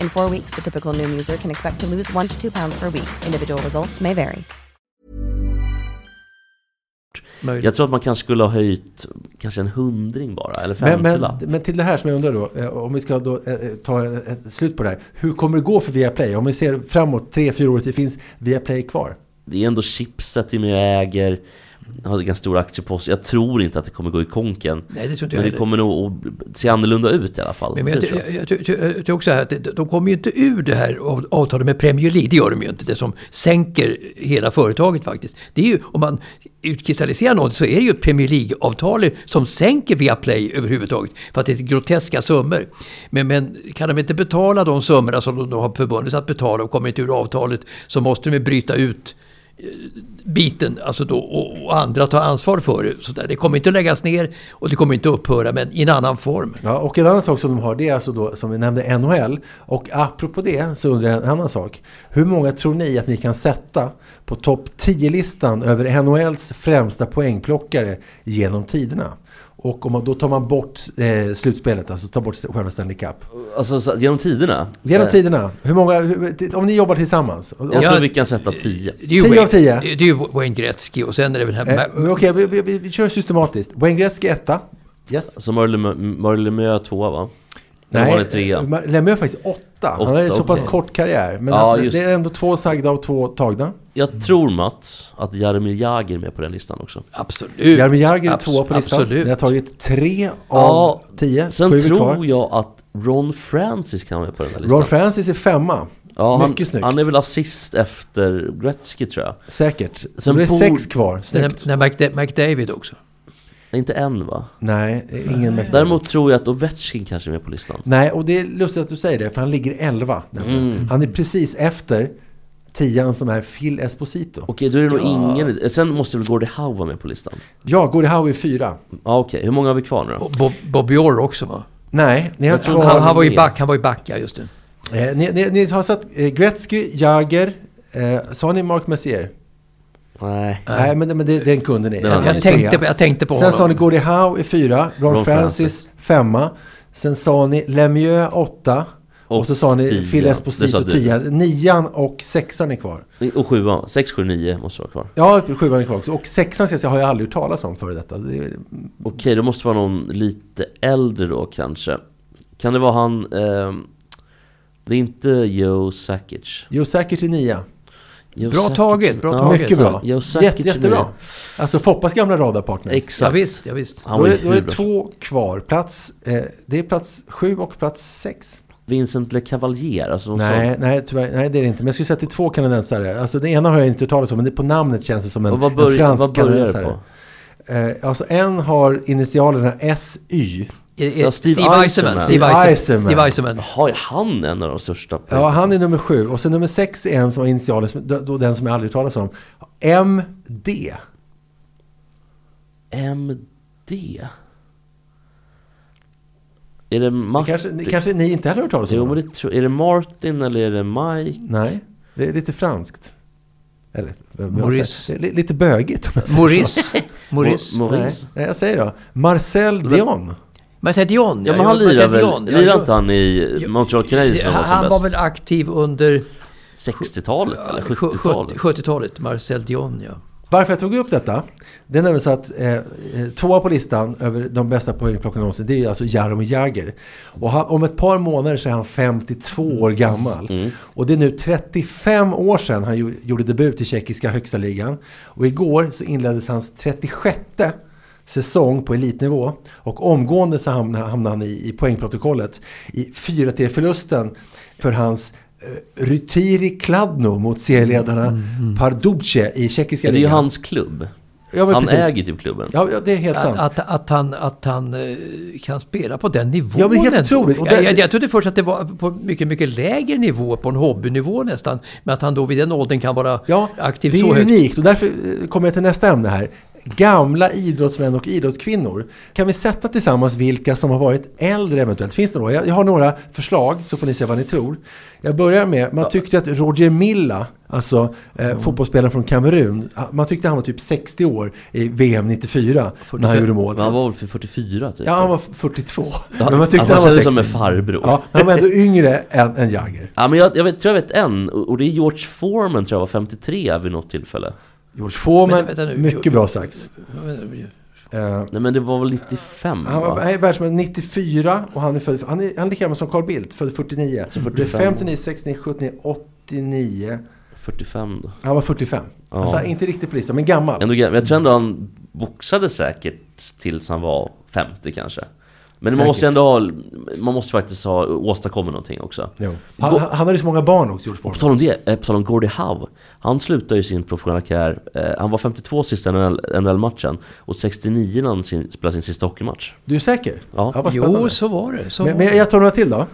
[SPEAKER 5] In four weeks, the typical Noom user can expect to lose one to two pounds per week. Individual results may vary.
[SPEAKER 4] Möjligt.
[SPEAKER 2] Jag tror att man kanske skulle ha höjt kanske en hundring bara, eller
[SPEAKER 3] Men, men,
[SPEAKER 2] femtiolapp.
[SPEAKER 3] men till det här som jag undrar då, eh, om vi ska då eh, eh, ta eh, ett slut på det här. Hur kommer det gå för Viaplay? Om vi ser framåt tre, fyra år till, finns Viaplay kvar?
[SPEAKER 2] Det är ändå chipset vi nu äger, har ganska stor aktiepost. Jag tror inte att det kommer gå i konken.
[SPEAKER 4] Nej, det tror inte jag
[SPEAKER 2] men det
[SPEAKER 4] heller.
[SPEAKER 2] kommer nog att se annorlunda ut i alla fall.
[SPEAKER 4] Men, men jag,
[SPEAKER 2] Det tror
[SPEAKER 4] jag, jag, jag, jag, jag tror också att de- de kommer ju inte ur det här av- avtalet med Premier League. Det gör de ju inte. Det som sänker hela företaget faktiskt. Det är ju, om man utkristalliserar något så är det ju ett Premier League-avtal som sänker Viaplay överhuvudtaget. För att det är groteska summor. Men, men kan de inte betala de summorna som de då har förbundit sig att betala och kommer inte ur avtalet så måste de ju bryta ut eh, biten alltså då, och, och andra tar ansvar för det. Så där. Det kommer inte att läggas ner och det kommer inte att upphöra, men i en annan form.
[SPEAKER 3] Ja, och en annan sak som de har, det är alltså då, som vi nämnde, NHL. Och apropå det så undrar jag en annan sak. Hur många tror ni att ni kan sätta på topp 10-listan över NHLs främsta poängplockare genom tiderna? Och om man, då tar man bort eh, slutspelet, alltså tar bort själva Stanley Cup.
[SPEAKER 2] Alltså så, genom tiderna?
[SPEAKER 3] Genom
[SPEAKER 2] Eh,
[SPEAKER 3] tiderna, hur många, hur, om ni jobbar tillsammans? Och,
[SPEAKER 2] Jag
[SPEAKER 3] och,
[SPEAKER 4] Ja.
[SPEAKER 2] tror vi kan sätta 10.
[SPEAKER 4] Det är ju
[SPEAKER 3] 10 av
[SPEAKER 4] Wayne-
[SPEAKER 3] 10.
[SPEAKER 4] Det, det är ju Wayne Gretzky och sen är det väl den
[SPEAKER 3] eh,
[SPEAKER 4] här...
[SPEAKER 3] men Okej, vi, vi, vi, vi kör systematiskt. Wayne Gretzky etta. Yes.
[SPEAKER 2] Så Murray Lemieux- Murray Lemieux tvåa va? Nej. Var det trea?
[SPEAKER 3] eh, Lemieux är faktiskt åtta. Han har
[SPEAKER 2] Åtta,
[SPEAKER 3] ju så pass
[SPEAKER 2] okej.
[SPEAKER 3] kort karriär. Men
[SPEAKER 2] Ja,
[SPEAKER 3] han-
[SPEAKER 2] just
[SPEAKER 3] det är ändå två sagda och två tagna.
[SPEAKER 2] Jag tror Mats att Jaromir Jagr är med på den listan också.
[SPEAKER 4] Absolut.
[SPEAKER 3] Jaromir Jagr är
[SPEAKER 4] Abs-
[SPEAKER 3] tvåa på listan.
[SPEAKER 4] Absolut.
[SPEAKER 3] Ni har tagit tre av
[SPEAKER 2] Ja,
[SPEAKER 3] tio.
[SPEAKER 2] Sen
[SPEAKER 3] Sju är
[SPEAKER 2] tror
[SPEAKER 3] kvar.
[SPEAKER 2] jag att Ron Francis kan vara med på den här listan.
[SPEAKER 3] Ron Francis är femma.
[SPEAKER 2] ja, han,
[SPEAKER 3] Mycket snyggt.
[SPEAKER 2] Han är väl assist efter Gretzky tror jag.
[SPEAKER 3] Säkert. Så
[SPEAKER 2] Sen
[SPEAKER 3] det är
[SPEAKER 2] bor-
[SPEAKER 3] sex kvar.
[SPEAKER 4] Den
[SPEAKER 3] Snyggt.
[SPEAKER 4] här McDa- McDavid också.
[SPEAKER 2] Nej, Inte än va?
[SPEAKER 3] Nej, ingen mäktig.
[SPEAKER 2] Däremot tror jag att Ovechkin kanske är med på listan.
[SPEAKER 3] Nej, och det är lustigt att du säger det, för han ligger elva. nämligen.
[SPEAKER 2] Mm.
[SPEAKER 3] Han är precis efter tian som är Phil Esposito.
[SPEAKER 2] Okej, då är det nog ingen. Sen måste väl Gordie Howe vara med på listan?
[SPEAKER 3] Ja, Gordie Howe är fyra.
[SPEAKER 2] Ja, okej. Hur många har vi kvar nu då?
[SPEAKER 4] Och Bob, Bob Orr också va?
[SPEAKER 3] Nej, ni har
[SPEAKER 4] Han,
[SPEAKER 3] kvar...
[SPEAKER 4] han, var ju
[SPEAKER 2] med.
[SPEAKER 4] back, han var ju back, ja just det.
[SPEAKER 3] eh, ni, ni, ni har satt eh, Gretzky, Jagger, eh, sa ni Mark Messier?
[SPEAKER 2] Nej.
[SPEAKER 3] Nej, men, men det, den kunde ni.
[SPEAKER 2] Den
[SPEAKER 3] Sen
[SPEAKER 2] hade ni.
[SPEAKER 3] var ni
[SPEAKER 4] Jag tänkte,
[SPEAKER 3] trea.
[SPEAKER 4] på- jag tänkte på
[SPEAKER 3] Sen sa ni
[SPEAKER 4] honom.
[SPEAKER 3] Gordie Howe i fyra, Ron,
[SPEAKER 2] Ron Francis.
[SPEAKER 3] Francis, femma. Sen sa ni Lemieux åtta. Och,
[SPEAKER 2] Och
[SPEAKER 3] så sa ni
[SPEAKER 2] tio.
[SPEAKER 3] Phil
[SPEAKER 2] Det sa
[SPEAKER 3] Esposito
[SPEAKER 2] du.
[SPEAKER 3] tia. Nian och sexan är kvar.
[SPEAKER 2] Och sjua. Sex, sju, nio måste vara kvar.
[SPEAKER 3] Ja, sjuan är kvar också. Och sexan ska jag säga har jag aldrig hört talas om före detta. Det är-
[SPEAKER 2] Okej, det måste vara någon lite äldre då kanske. Kan det vara han... ehm, det är inte Joe Sakic.
[SPEAKER 3] Jo, säkert i nia.
[SPEAKER 2] Joe
[SPEAKER 4] Bra taget, bra taget.
[SPEAKER 3] Mycket bra.
[SPEAKER 2] Joe Sakic
[SPEAKER 3] Jätte,
[SPEAKER 2] är
[SPEAKER 3] jättebra.
[SPEAKER 2] med.
[SPEAKER 3] Alltså Foppas gamla radarpartner.
[SPEAKER 4] Ja,
[SPEAKER 2] Exakt.
[SPEAKER 4] visst, ja, visst.
[SPEAKER 2] Han
[SPEAKER 3] Då
[SPEAKER 2] var
[SPEAKER 3] är,
[SPEAKER 2] ju
[SPEAKER 3] det- då är
[SPEAKER 2] hur
[SPEAKER 3] det
[SPEAKER 2] bra.
[SPEAKER 3] två kvar. Plats, eh, det är plats sju och plats sex.
[SPEAKER 2] Vincent Le Cavalier, alltså de
[SPEAKER 3] Nej,
[SPEAKER 2] sa...
[SPEAKER 3] nej, tyvärr, nej, det är det inte. Men jag skulle säga att det är två kanadensare. Alltså det ena har jag inte hört talas om, men det på namnet känns det som en,
[SPEAKER 2] Och vad
[SPEAKER 3] en
[SPEAKER 2] börjar,
[SPEAKER 3] fransk
[SPEAKER 2] vad börjar det
[SPEAKER 3] kanadensare.
[SPEAKER 2] på?
[SPEAKER 3] Eh, alltså en har initialerna SY.
[SPEAKER 4] Eh, eh,
[SPEAKER 2] Ja, Steve
[SPEAKER 4] Steve
[SPEAKER 2] Eisenman.
[SPEAKER 4] Eisenman. Steve
[SPEAKER 3] Steve
[SPEAKER 4] Eisenman. Steve
[SPEAKER 3] Eisenman.
[SPEAKER 4] Eisenman.
[SPEAKER 2] Jaha, är han en av de största?
[SPEAKER 3] Ja, han är nummer sju. Och sen nummer sex är en som har initialer, som- då, då den som jag aldrig hört talas om. MD.
[SPEAKER 2] MD? Är det Martin?
[SPEAKER 3] Det kanske, ni- kanske ni inte heller har hört talas om?
[SPEAKER 2] Jo, men
[SPEAKER 3] honom?
[SPEAKER 2] det tror... Är det Martin eller är det Mike?
[SPEAKER 3] Nej, det är lite franskt. Eller, vad man
[SPEAKER 4] Maurice.
[SPEAKER 3] säger. Det är li- lite bögigt om jag säger
[SPEAKER 4] Maurice. Maurice.
[SPEAKER 2] Mo-
[SPEAKER 3] Nej,
[SPEAKER 2] Maurice?
[SPEAKER 3] nej, jag säger då. Marcel Dion.
[SPEAKER 4] Men säg Dion.
[SPEAKER 2] Ja, men han
[SPEAKER 4] jag-
[SPEAKER 2] lirar
[SPEAKER 4] Marcel
[SPEAKER 2] väl...
[SPEAKER 4] Dion, ja,
[SPEAKER 2] Lirar
[SPEAKER 4] jag-
[SPEAKER 2] inte han i Montreal Canadiens när
[SPEAKER 4] Han,
[SPEAKER 2] han
[SPEAKER 4] han var
[SPEAKER 2] var som
[SPEAKER 4] väl aktiv under
[SPEAKER 2] bäst? 60-talet eller liksom. 70-talet?
[SPEAKER 4] 70-talet. Marcel Dion, ja.
[SPEAKER 3] Varför jag tog upp detta, det är nämligen så att eh, eh, tvåa på listan över de bästa poängplockarna någonsin, det är ju alltså Jaromir Jagr. Och han, om ett par månader så är han 52 år gammal. Och det är nu 35 år sedan han gjo- gjorde debut i tjeckiska högsta ligan. Och igår så inleddes hans 36 säsong på elitnivå. Och omgående så hamnade, hamnade han i, i poängprotokollet i 4-3-förlusten för hans eh, Rytiri Kladno mot serieledarna Pardubice i tjeckiska
[SPEAKER 2] Ja, det är ju
[SPEAKER 3] ligan.
[SPEAKER 2] hans klubb.
[SPEAKER 3] Ja, men
[SPEAKER 2] han
[SPEAKER 3] precis.
[SPEAKER 2] äger typ klubben.
[SPEAKER 3] Ja, ja, det är helt sant.
[SPEAKER 4] Att, att, att han, att han eh, kan spela på den nivån.
[SPEAKER 3] Ja, men helt
[SPEAKER 4] ändå.
[SPEAKER 3] otroligt. Och
[SPEAKER 4] jag,
[SPEAKER 3] det-
[SPEAKER 4] jag, jag trodde först att det var på mycket, mycket lägre nivå, på en hobbynivå nästan. Men att han då vid den åldern kan vara
[SPEAKER 3] Ja,
[SPEAKER 4] aktiv
[SPEAKER 3] det
[SPEAKER 4] så
[SPEAKER 3] är
[SPEAKER 4] högt.
[SPEAKER 3] unikt och därför eh, kommer jag till nästa ämne här. Gamla idrottsmän och idrottskvinnor. Kan vi sätta tillsammans vilka som har varit äldre eventuellt? Finns det några? Jag jag har några förslag så får ni se vad ni tror. Jag börjar med, man tyckte att Roger Milla, alltså eh,
[SPEAKER 2] Mm.
[SPEAKER 3] fotbollsspelaren från Kamerun, ah, man tyckte han var typ 60 år i VM 94 när han gjorde mål.
[SPEAKER 2] Men han var väl för 44 typ?
[SPEAKER 3] Ja, han var 42.
[SPEAKER 2] Ja, alltså,
[SPEAKER 3] Men man tyckte han,
[SPEAKER 2] han
[SPEAKER 3] var
[SPEAKER 2] kändes
[SPEAKER 3] 60.
[SPEAKER 2] som en farbror.
[SPEAKER 3] Ja, han var ändå yngre än, än Jagger.
[SPEAKER 2] Ja, men jag, jag vet, tror jag vet en, och och det är George Foreman tror jag var 53 vid något tillfälle.
[SPEAKER 3] George Foreman,
[SPEAKER 4] Vänta, vänta nu.
[SPEAKER 3] mycket bra sagt. Eh,
[SPEAKER 2] Nej men det var väl 95
[SPEAKER 3] Han var
[SPEAKER 2] va?
[SPEAKER 3] han är världsman 94 och han är född, han är, han är lika gammal som Carl Bildt, född 49. Så
[SPEAKER 2] 45.
[SPEAKER 3] 59, 69, 79, 89.
[SPEAKER 2] 45 då.
[SPEAKER 3] Han var 45.
[SPEAKER 2] Ja.
[SPEAKER 3] Alltså inte riktigt på listan, men gammal.
[SPEAKER 2] Ändå, gre- men jag tror ändå han boxade säkert tills han var 50 kanske. Men man
[SPEAKER 3] Säkert.
[SPEAKER 2] måste ändå ha, man måste faktiskt ha åstadkommit någonting också.
[SPEAKER 3] Jo. Han, han, han hade så många barn också,
[SPEAKER 2] På
[SPEAKER 3] George Foreman.
[SPEAKER 2] tal om det, eh, på tal om Gordie Howe. Han slutade ju sin professionella karriär, eh, han var 52 sista NHL-matchen och 69 när han sin, spelade sin sista hockeymatch.
[SPEAKER 3] Du är säker?
[SPEAKER 2] Ja.
[SPEAKER 3] vad spännande.
[SPEAKER 4] Jo, så var det. Så
[SPEAKER 3] men,
[SPEAKER 4] var
[SPEAKER 3] men
[SPEAKER 4] det.
[SPEAKER 2] Mm.
[SPEAKER 3] jag tar några till då.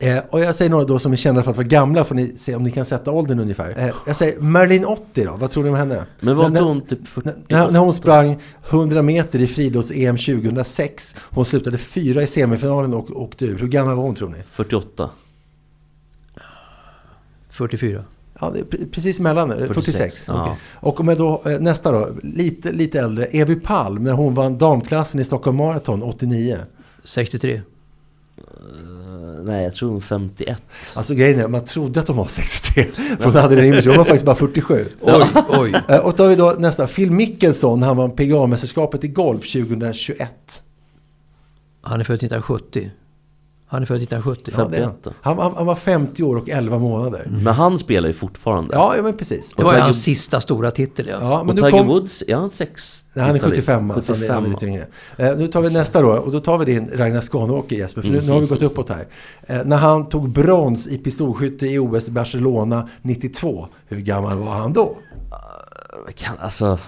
[SPEAKER 3] Eh, och jag säger några då som är kända för att vara gamla, får ni se om ni kan sätta åldern ungefär. Eh, jag säger Marilyn 80 då, vad tror ni om henne?
[SPEAKER 2] Men var
[SPEAKER 3] När-
[SPEAKER 2] inte hon typ 40?
[SPEAKER 3] När, när hon sprang 100 meter i friidrotts-EM 2006, hon slutade fyra i semifinalen och åkte ur. Hur gammal var hon tror ni?
[SPEAKER 2] 48?
[SPEAKER 4] 44.
[SPEAKER 3] Ja, det är pre- precis mellan, eh, 46.
[SPEAKER 2] 46, ja.
[SPEAKER 3] Okej. Och om jag då, eh, nästa då, lite, lite äldre, Evy Palm när hon vann damklassen i Stockholm Marathon 89.
[SPEAKER 4] 63.
[SPEAKER 2] Eh, Nej, jag tror hon 51.
[SPEAKER 3] Alltså grejen är, man trodde att hon var 63, för hon hade den image, hon var faktiskt bara 47.
[SPEAKER 4] Oj, oj.
[SPEAKER 3] Eh, Och då har vi då nästa, Phil Mickelson, han vann PGA-mästerskapet i golf 2021.
[SPEAKER 4] Han är född 1970. Han är född 1970.
[SPEAKER 3] Ja, det är
[SPEAKER 2] 51 då. Mm.
[SPEAKER 3] han. han, han var 50 år och 11 månader.
[SPEAKER 2] Men han spelar ju fortfarande.
[SPEAKER 3] Ja, ja, men precis.
[SPEAKER 4] Det var ju
[SPEAKER 2] Tiger-
[SPEAKER 4] hans sista stora titel, ja.
[SPEAKER 3] Ja, men
[SPEAKER 2] och
[SPEAKER 3] nu
[SPEAKER 2] Tiger
[SPEAKER 3] kom-
[SPEAKER 2] Woods, är han 60?
[SPEAKER 3] Nej, han är 75, så han är, han är lite yngre. Eh, nu tar vi nästa då, och då tar vi din Ragnar Skanåker Jesper, för nu,
[SPEAKER 2] Mm,
[SPEAKER 3] nu har vi gått uppåt här. Eh, när han tog brons i pistolskytte i OS i Barcelona 92, hur gammal var han då?
[SPEAKER 2] Kan, alltså,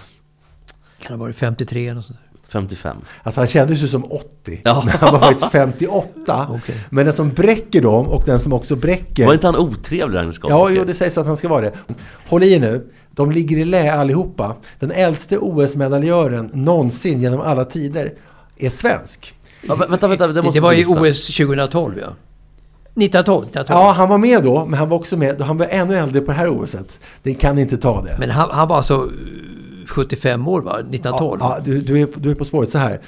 [SPEAKER 4] Kan ha varit 53 eller något sånt där.
[SPEAKER 2] 55.
[SPEAKER 3] Alltså han kändes ju som 80,
[SPEAKER 2] Ja.
[SPEAKER 3] men han var faktiskt 58. Men den som bräcker dem och den som också bräcker...
[SPEAKER 2] Var inte han otrevlig Ragnar Skarpåker?
[SPEAKER 3] Ja, jo, det sägs att han ska vara det. Håll i er nu. De ligger i lä allihopa. Den äldste OS-medaljören någonsin genom alla tider är svensk.
[SPEAKER 2] Ja, vä- vänta, vänta, det,
[SPEAKER 4] Det,
[SPEAKER 2] måste
[SPEAKER 4] det var
[SPEAKER 2] vi
[SPEAKER 4] ju
[SPEAKER 2] gissa.
[SPEAKER 4] OS 2012, ja. 1912, 1912.
[SPEAKER 3] Ja, han var med då, men han var också med. Han var ännu äldre på det här OSet. Det kan inte ta det.
[SPEAKER 4] Men han, han var alltså eh, 75 år, va? 1912.
[SPEAKER 3] Ja, du, du, är, du är på spåret så här.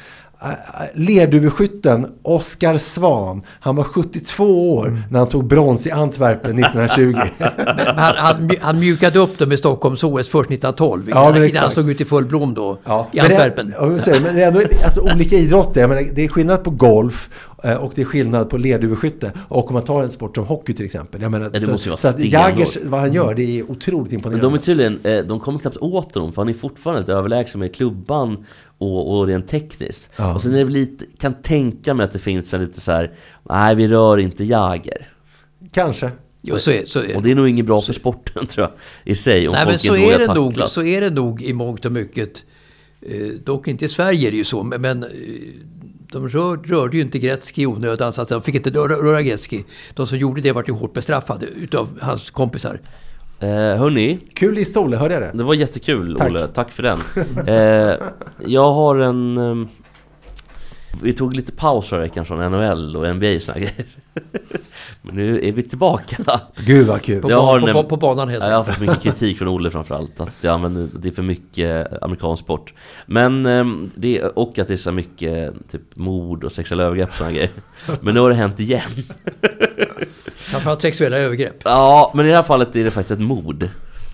[SPEAKER 3] Eh, eh, Lerduveskytten Oskar Svan, han var 72 år när han tog brons i Antwerpen 1920.
[SPEAKER 4] Men han, han, mju- han mjukade upp det med Stockholms OS först 1912.
[SPEAKER 3] Ja, men
[SPEAKER 4] innan
[SPEAKER 3] exakt.
[SPEAKER 4] han stod ut i full blom då, i
[SPEAKER 3] men det-
[SPEAKER 4] Antwerpen.
[SPEAKER 3] ja, men säg, Men det är ändå alltså, olika idrotter. Jag menar, det är skillnad på golf eh, och det är skillnad på lerduveskytte. Och om man tar en sport som hockey till exempel. Jag menar,
[SPEAKER 2] det
[SPEAKER 3] så
[SPEAKER 2] måste ju vara
[SPEAKER 3] så att
[SPEAKER 2] stenhårt.
[SPEAKER 3] Jagers, vad han gör, det är otroligt
[SPEAKER 2] Men de är
[SPEAKER 3] imponerande.
[SPEAKER 2] tydligen, eh, de kommer knappt åt honom för han är fortfarande lite överlägsen med klubban och, och rent tekniskt.
[SPEAKER 3] Ja.
[SPEAKER 2] Och sen är det väl lite, kan tänka mig att det finns en lite så här, nej vi rör inte Jagger.
[SPEAKER 3] Kanske.
[SPEAKER 4] Jo, så är, så är.
[SPEAKER 2] Och det är nog inget bra för sporten tror jag, i sig. Om
[SPEAKER 4] Nej, men
[SPEAKER 2] folk
[SPEAKER 4] så
[SPEAKER 2] dåliga
[SPEAKER 4] är, det
[SPEAKER 2] att
[SPEAKER 4] nog,
[SPEAKER 2] tacklas.
[SPEAKER 4] så är det nog i mångt och mycket. Eh, dock inte i Sverige är det ju så, men, men eh, de rör, rörde ju inte Gretzky i onödan. Så att de fick inte röra, röra Gretzky. De som gjorde det vart ju hårt bestraffade utav hans kompisar.
[SPEAKER 2] Eh, hörni,
[SPEAKER 3] Kul lista Olle, hörde jag det?
[SPEAKER 2] det var jättekul
[SPEAKER 3] Tack.
[SPEAKER 2] Olle, tack för den. Eh, jag har en... ehm, vi tog lite paus förra veckan från NHL och NBA och såna grejer. Men nu är vi tillbaka.
[SPEAKER 3] Gud vad kul.
[SPEAKER 4] På,
[SPEAKER 2] Jag
[SPEAKER 4] ban-
[SPEAKER 2] har
[SPEAKER 4] på,
[SPEAKER 2] näm-
[SPEAKER 4] ba- på banan helt
[SPEAKER 2] Ja, jag har
[SPEAKER 4] enkelt.
[SPEAKER 2] fått mycket kritik från Olle framförallt. Att jag använder, det är för mycket eh, amerikansk sport. Men, ehm, det, och att det är så mycket eh, typ mord och sexuella övergrepp och såna grejer. Men nu har det hänt igen.
[SPEAKER 4] Framförallt sexuella övergrepp.
[SPEAKER 2] Ja, men i det här fallet är det faktiskt ett mord.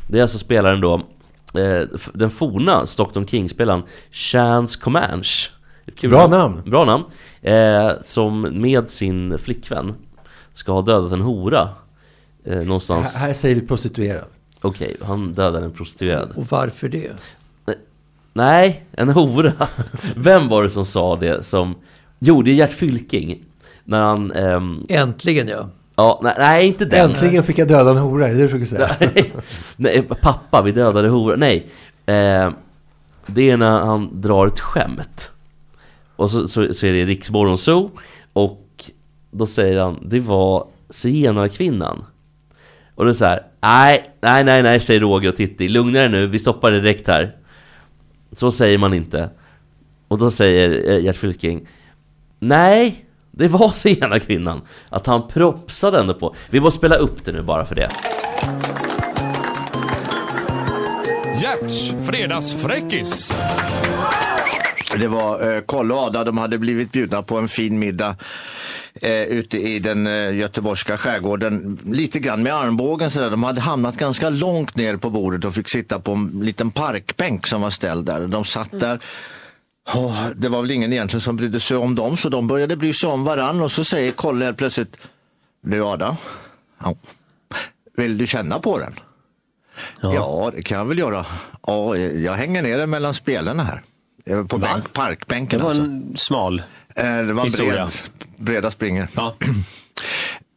[SPEAKER 2] Det är alltså spelaren då, eh, f- den forna Stockton King-spelaren Chance Comanche. Ett kul
[SPEAKER 3] Bra namn.
[SPEAKER 2] Bra namn. Eh, som med sin flickvän ska ha dödat en hora. Eh, någonstans.
[SPEAKER 3] Här, här säger vi prostituerad.
[SPEAKER 2] Okej, han dödade en prostituerad. Eh,
[SPEAKER 4] Och varför det?
[SPEAKER 2] Nej, en hora. Vem var det som sa det som... Jo, det är Gert Fylking. När han... ehm,
[SPEAKER 4] Äntligen ja.
[SPEAKER 2] ja, nej, nej, inte den.
[SPEAKER 3] Äntligen fick jag döda en hora, är det det du försöker säga?
[SPEAKER 2] nej, pappa, vi dödade hora. Nej. Eh, det är när han drar ett skämt. Och så, så, så är det Riksmorgon Zoo. Och då säger han, det var zigenarkvinnan. Och då är det så här, nej, nej, nej, nej, säger Roger och Titti. Lugna er nu, vi stoppar det direkt här. Så säger man inte. Och då säger eh, Gert Fylking, nej, det var zigenarkvinnan. Att han propsade ändå på. Vi måste spela upp det nu bara för det.
[SPEAKER 6] Gerts fredagsfräckis.
[SPEAKER 7] Det var eh, Kolle och Ada, de hade blivit bjudna på en fin middag eh, ute i den eh, göteborgska skärgården. Lite grann med armbågen sådär. De hade hamnat ganska långt ner på bordet och fick sitta på en liten parkbänk som var ställd där. De satt där. Åh, det var väl ingen egentligen som brydde sig om dem så de började bry sig om varann och så säger Kolle helt plötsligt Du Ada, ja. vill du känna på den? Ja. det kan jag väl göra. Ja, jag hänger ner den mellan spelarna här. Eh, På bänk, parkbänken
[SPEAKER 8] Det var
[SPEAKER 7] alltså.
[SPEAKER 8] en smal.
[SPEAKER 7] Eh, Det var en
[SPEAKER 8] Historia.
[SPEAKER 7] bred, breda springer.
[SPEAKER 8] Ja.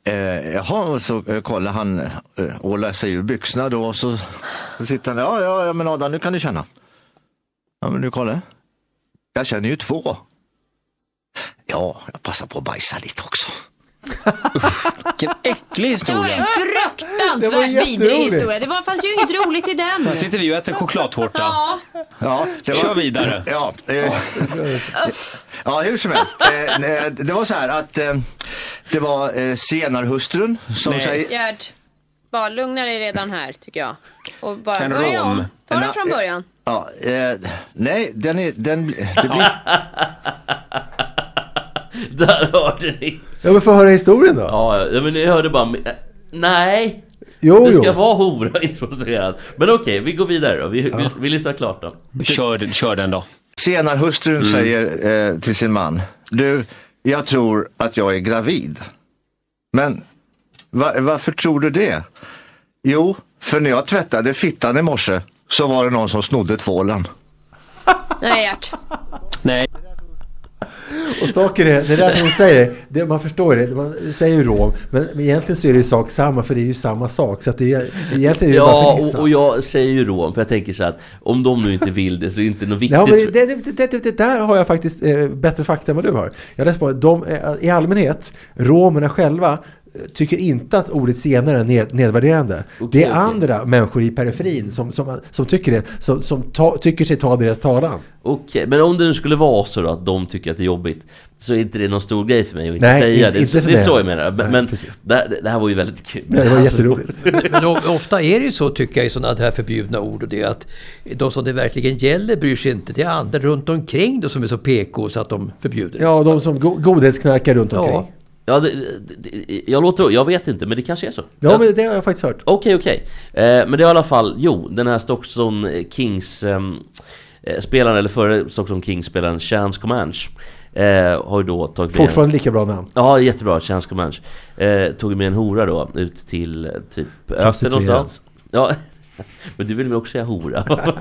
[SPEAKER 7] Eh, jaha, och så eh, kollar han eh, ålar sig ur byxorna då och så, så sitter han ja, ja, ja, men Adam, nu kan du känna. Ja, men du kollar. Jag känner ju två. Ja, jag passar på att bajsa lite också.
[SPEAKER 8] Vilken äcklig
[SPEAKER 9] Det var
[SPEAKER 8] historia.
[SPEAKER 9] en
[SPEAKER 3] Det var
[SPEAKER 9] fruktansvärt
[SPEAKER 3] jätteroligt.
[SPEAKER 9] vidrig historia. Det var, fanns ju inget roligt i den.
[SPEAKER 8] Här sitter vi och äter chokladtårta.
[SPEAKER 9] Ja.
[SPEAKER 7] Ja, det var...
[SPEAKER 8] Kör vidare.
[SPEAKER 7] Ja, eh, ja, hur som helst. Eh, eh, det var så här att eh, det var eh, senarhustrun som säger...
[SPEAKER 9] Gerd, bara lugna dig redan här tycker jag. Och bara
[SPEAKER 7] Turn
[SPEAKER 9] börja
[SPEAKER 7] om.
[SPEAKER 9] om. Ta
[SPEAKER 7] Denna-
[SPEAKER 9] det från början.
[SPEAKER 7] Ja, eh, nej, den är... Den, det blir...
[SPEAKER 2] Där hörde ni!
[SPEAKER 3] Ja, men få höra historien då.
[SPEAKER 2] Ja, ja, men ni hörde bara... äh, Nej!
[SPEAKER 3] Jo,
[SPEAKER 2] det ska
[SPEAKER 3] jo.
[SPEAKER 2] vara hora introducerad. Men okej, vi går vidare då. Vi, vi, vi lyssnar klart då.
[SPEAKER 8] Kör, kör den då.
[SPEAKER 7] Senarhustrun säger eh, till sin man, du, jag tror att jag är gravid. Men va, varför tror du det? Jo, för när jag tvättade fittan i morse så var det någon som snodde tvålen.
[SPEAKER 9] Nej Gert.
[SPEAKER 8] Nej.
[SPEAKER 3] Och saker är, det där som de säger, det, man förstår det, man säger ju rom, men, men egentligen så är det ju sak samma, för det är ju samma sak. Så att det är, egentligen är det bara
[SPEAKER 2] Ja,
[SPEAKER 3] för
[SPEAKER 2] och, och jag säger ju rom, för jag tänker så här att om de nu inte vill det så är det inte något viktigt.
[SPEAKER 3] Nej, men
[SPEAKER 2] för-
[SPEAKER 3] det, det, det, det, det där har jag faktiskt eh, bättre fakta än vad du har. Jag läste på, de, eh, I allmänhet, romerna själva eh, tycker inte att ordet senare är ned, nedvärderande. det är
[SPEAKER 2] okej.
[SPEAKER 3] andra människor i periferin som, som, som tycker det, som, som ta, tycker sig ta deras talan.
[SPEAKER 2] Okej, men om det nu skulle vara så då att de tycker att det är jobbigt så är inte det någon stor grej för mig att inte
[SPEAKER 3] Nej,
[SPEAKER 2] säga
[SPEAKER 3] inte-
[SPEAKER 2] det.
[SPEAKER 3] inte för
[SPEAKER 2] det är
[SPEAKER 3] mig.
[SPEAKER 2] så jag menar. Men,
[SPEAKER 3] Nej,
[SPEAKER 2] men det, här- det här var ju väldigt kul. Alltså,
[SPEAKER 3] Men det var jätteroligt.
[SPEAKER 4] Men o- ofta är det ju så tycker jag i sådana här förbjudna ord och det att de som det verkligen gäller bryr sig inte. Det är andra runt omkring då som är så PK så att de förbjuder.
[SPEAKER 3] Ja, de som go, godhetsknarkar runt omkring. Ja,
[SPEAKER 2] Ja, det, det, jag låter... Jag vet inte, men det kanske är så.
[SPEAKER 3] ja, men det har jag faktiskt hört.
[SPEAKER 2] Okej, okej. Eh, men det är i alla fall, jo, den här Stockton Kings ehm, eh, spelaren, eller före Stockton Kings spelaren, Chance Comanche, eh, har ju då tagit med-
[SPEAKER 3] Fortfarande lika bra namn.
[SPEAKER 2] Ja, jättebra. Chance Comanche. Eh, tog med en hora då ut till eh, typ öknen
[SPEAKER 3] Prostituerad.
[SPEAKER 2] någonstans. Ja. Men du vill väl också säga hora?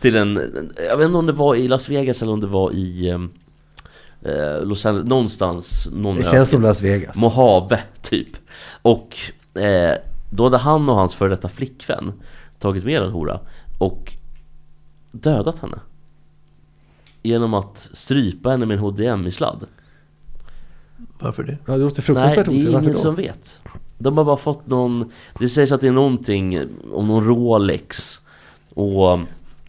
[SPEAKER 2] till en, en- jag vet inte om det var i Las Vegas eller om det var i ehm, eh, Los Angeles, någonstans. Någon
[SPEAKER 3] Det
[SPEAKER 2] öken.
[SPEAKER 3] känns som Las Vegas.
[SPEAKER 2] Mojave, typ. Och eh, då hade han och hans före detta flickvän tagit med en hora och dödat henne. Genom att strypa henne med en HDMI-sladd.
[SPEAKER 4] Varför det?
[SPEAKER 3] Ja, det låter
[SPEAKER 2] Nej,
[SPEAKER 3] fruktansvärt
[SPEAKER 2] det är
[SPEAKER 3] osynligt. Varför
[SPEAKER 2] ingen
[SPEAKER 3] då?
[SPEAKER 2] som vet. De har bara fått någon... Det sägs att det är någonting om någon Rolex. Och...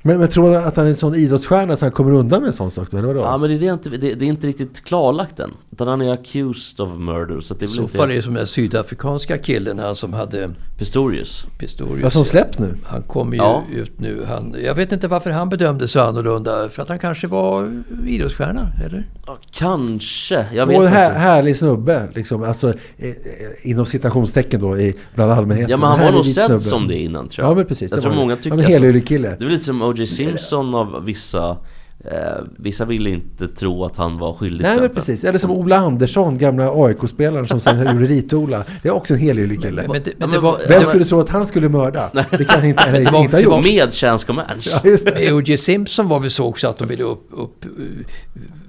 [SPEAKER 3] Men, men tror du att han är en sån idrottsstjärna så han kommer undan med en sån sak då? Eller vadå?
[SPEAKER 2] Ja men det är, det inte, det, det är inte riktigt klarlagt än. Utan han är accused of murder. Så att det är
[SPEAKER 4] I
[SPEAKER 2] väl
[SPEAKER 4] så
[SPEAKER 2] inte...
[SPEAKER 4] fall är det som den sydafrikanska killen han som hade
[SPEAKER 2] Pistorius.
[SPEAKER 4] Pistorius.
[SPEAKER 3] Ja, som släpps nu.
[SPEAKER 4] Han kommer ju
[SPEAKER 2] Ja.
[SPEAKER 4] ut nu. Han, jag vet inte varför han bedömdes så annorlunda. För att han kanske var idrottsstjärna, eller?
[SPEAKER 2] Kanske. Jag vet
[SPEAKER 3] Och en
[SPEAKER 2] faktiskt
[SPEAKER 3] här,
[SPEAKER 2] inte.
[SPEAKER 3] härlig snubbe, liksom, alltså, eh, eh, inom citationstecken då, i, bland allmänheten.
[SPEAKER 2] Ja men
[SPEAKER 3] En
[SPEAKER 2] han var
[SPEAKER 3] härlig
[SPEAKER 2] nog
[SPEAKER 3] vit
[SPEAKER 2] sedd
[SPEAKER 3] snubbe.
[SPEAKER 2] som det innan tror jag.
[SPEAKER 3] Ja men precis.
[SPEAKER 2] Jag
[SPEAKER 3] det
[SPEAKER 2] tror
[SPEAKER 3] var det.
[SPEAKER 2] många
[SPEAKER 3] Ja,
[SPEAKER 2] tyckte...
[SPEAKER 3] men helyllig kille.
[SPEAKER 2] Det var lite som O.J. Simpson av vissa. Eh, vissa ville inte tro att han var skyldig till
[SPEAKER 3] Nej men
[SPEAKER 2] exempel.
[SPEAKER 3] precis. Eller som Ola Andersson, gamla AIK-spelaren som sen gjorde Ritola. Det är också en helyllig kille.
[SPEAKER 4] Men det,
[SPEAKER 2] Ja,
[SPEAKER 4] men det
[SPEAKER 2] men
[SPEAKER 4] var...
[SPEAKER 2] vad-
[SPEAKER 3] Vem
[SPEAKER 4] det var-
[SPEAKER 3] skulle tro att han skulle mörda? Det kan inte, eller,
[SPEAKER 4] det var-
[SPEAKER 3] inte ha
[SPEAKER 4] det var
[SPEAKER 3] gjort.
[SPEAKER 2] Med Chance Comanche.
[SPEAKER 3] Ja, just det.
[SPEAKER 4] O.J. Eh, Simpson var väl så också att de ville upp, upp, eh,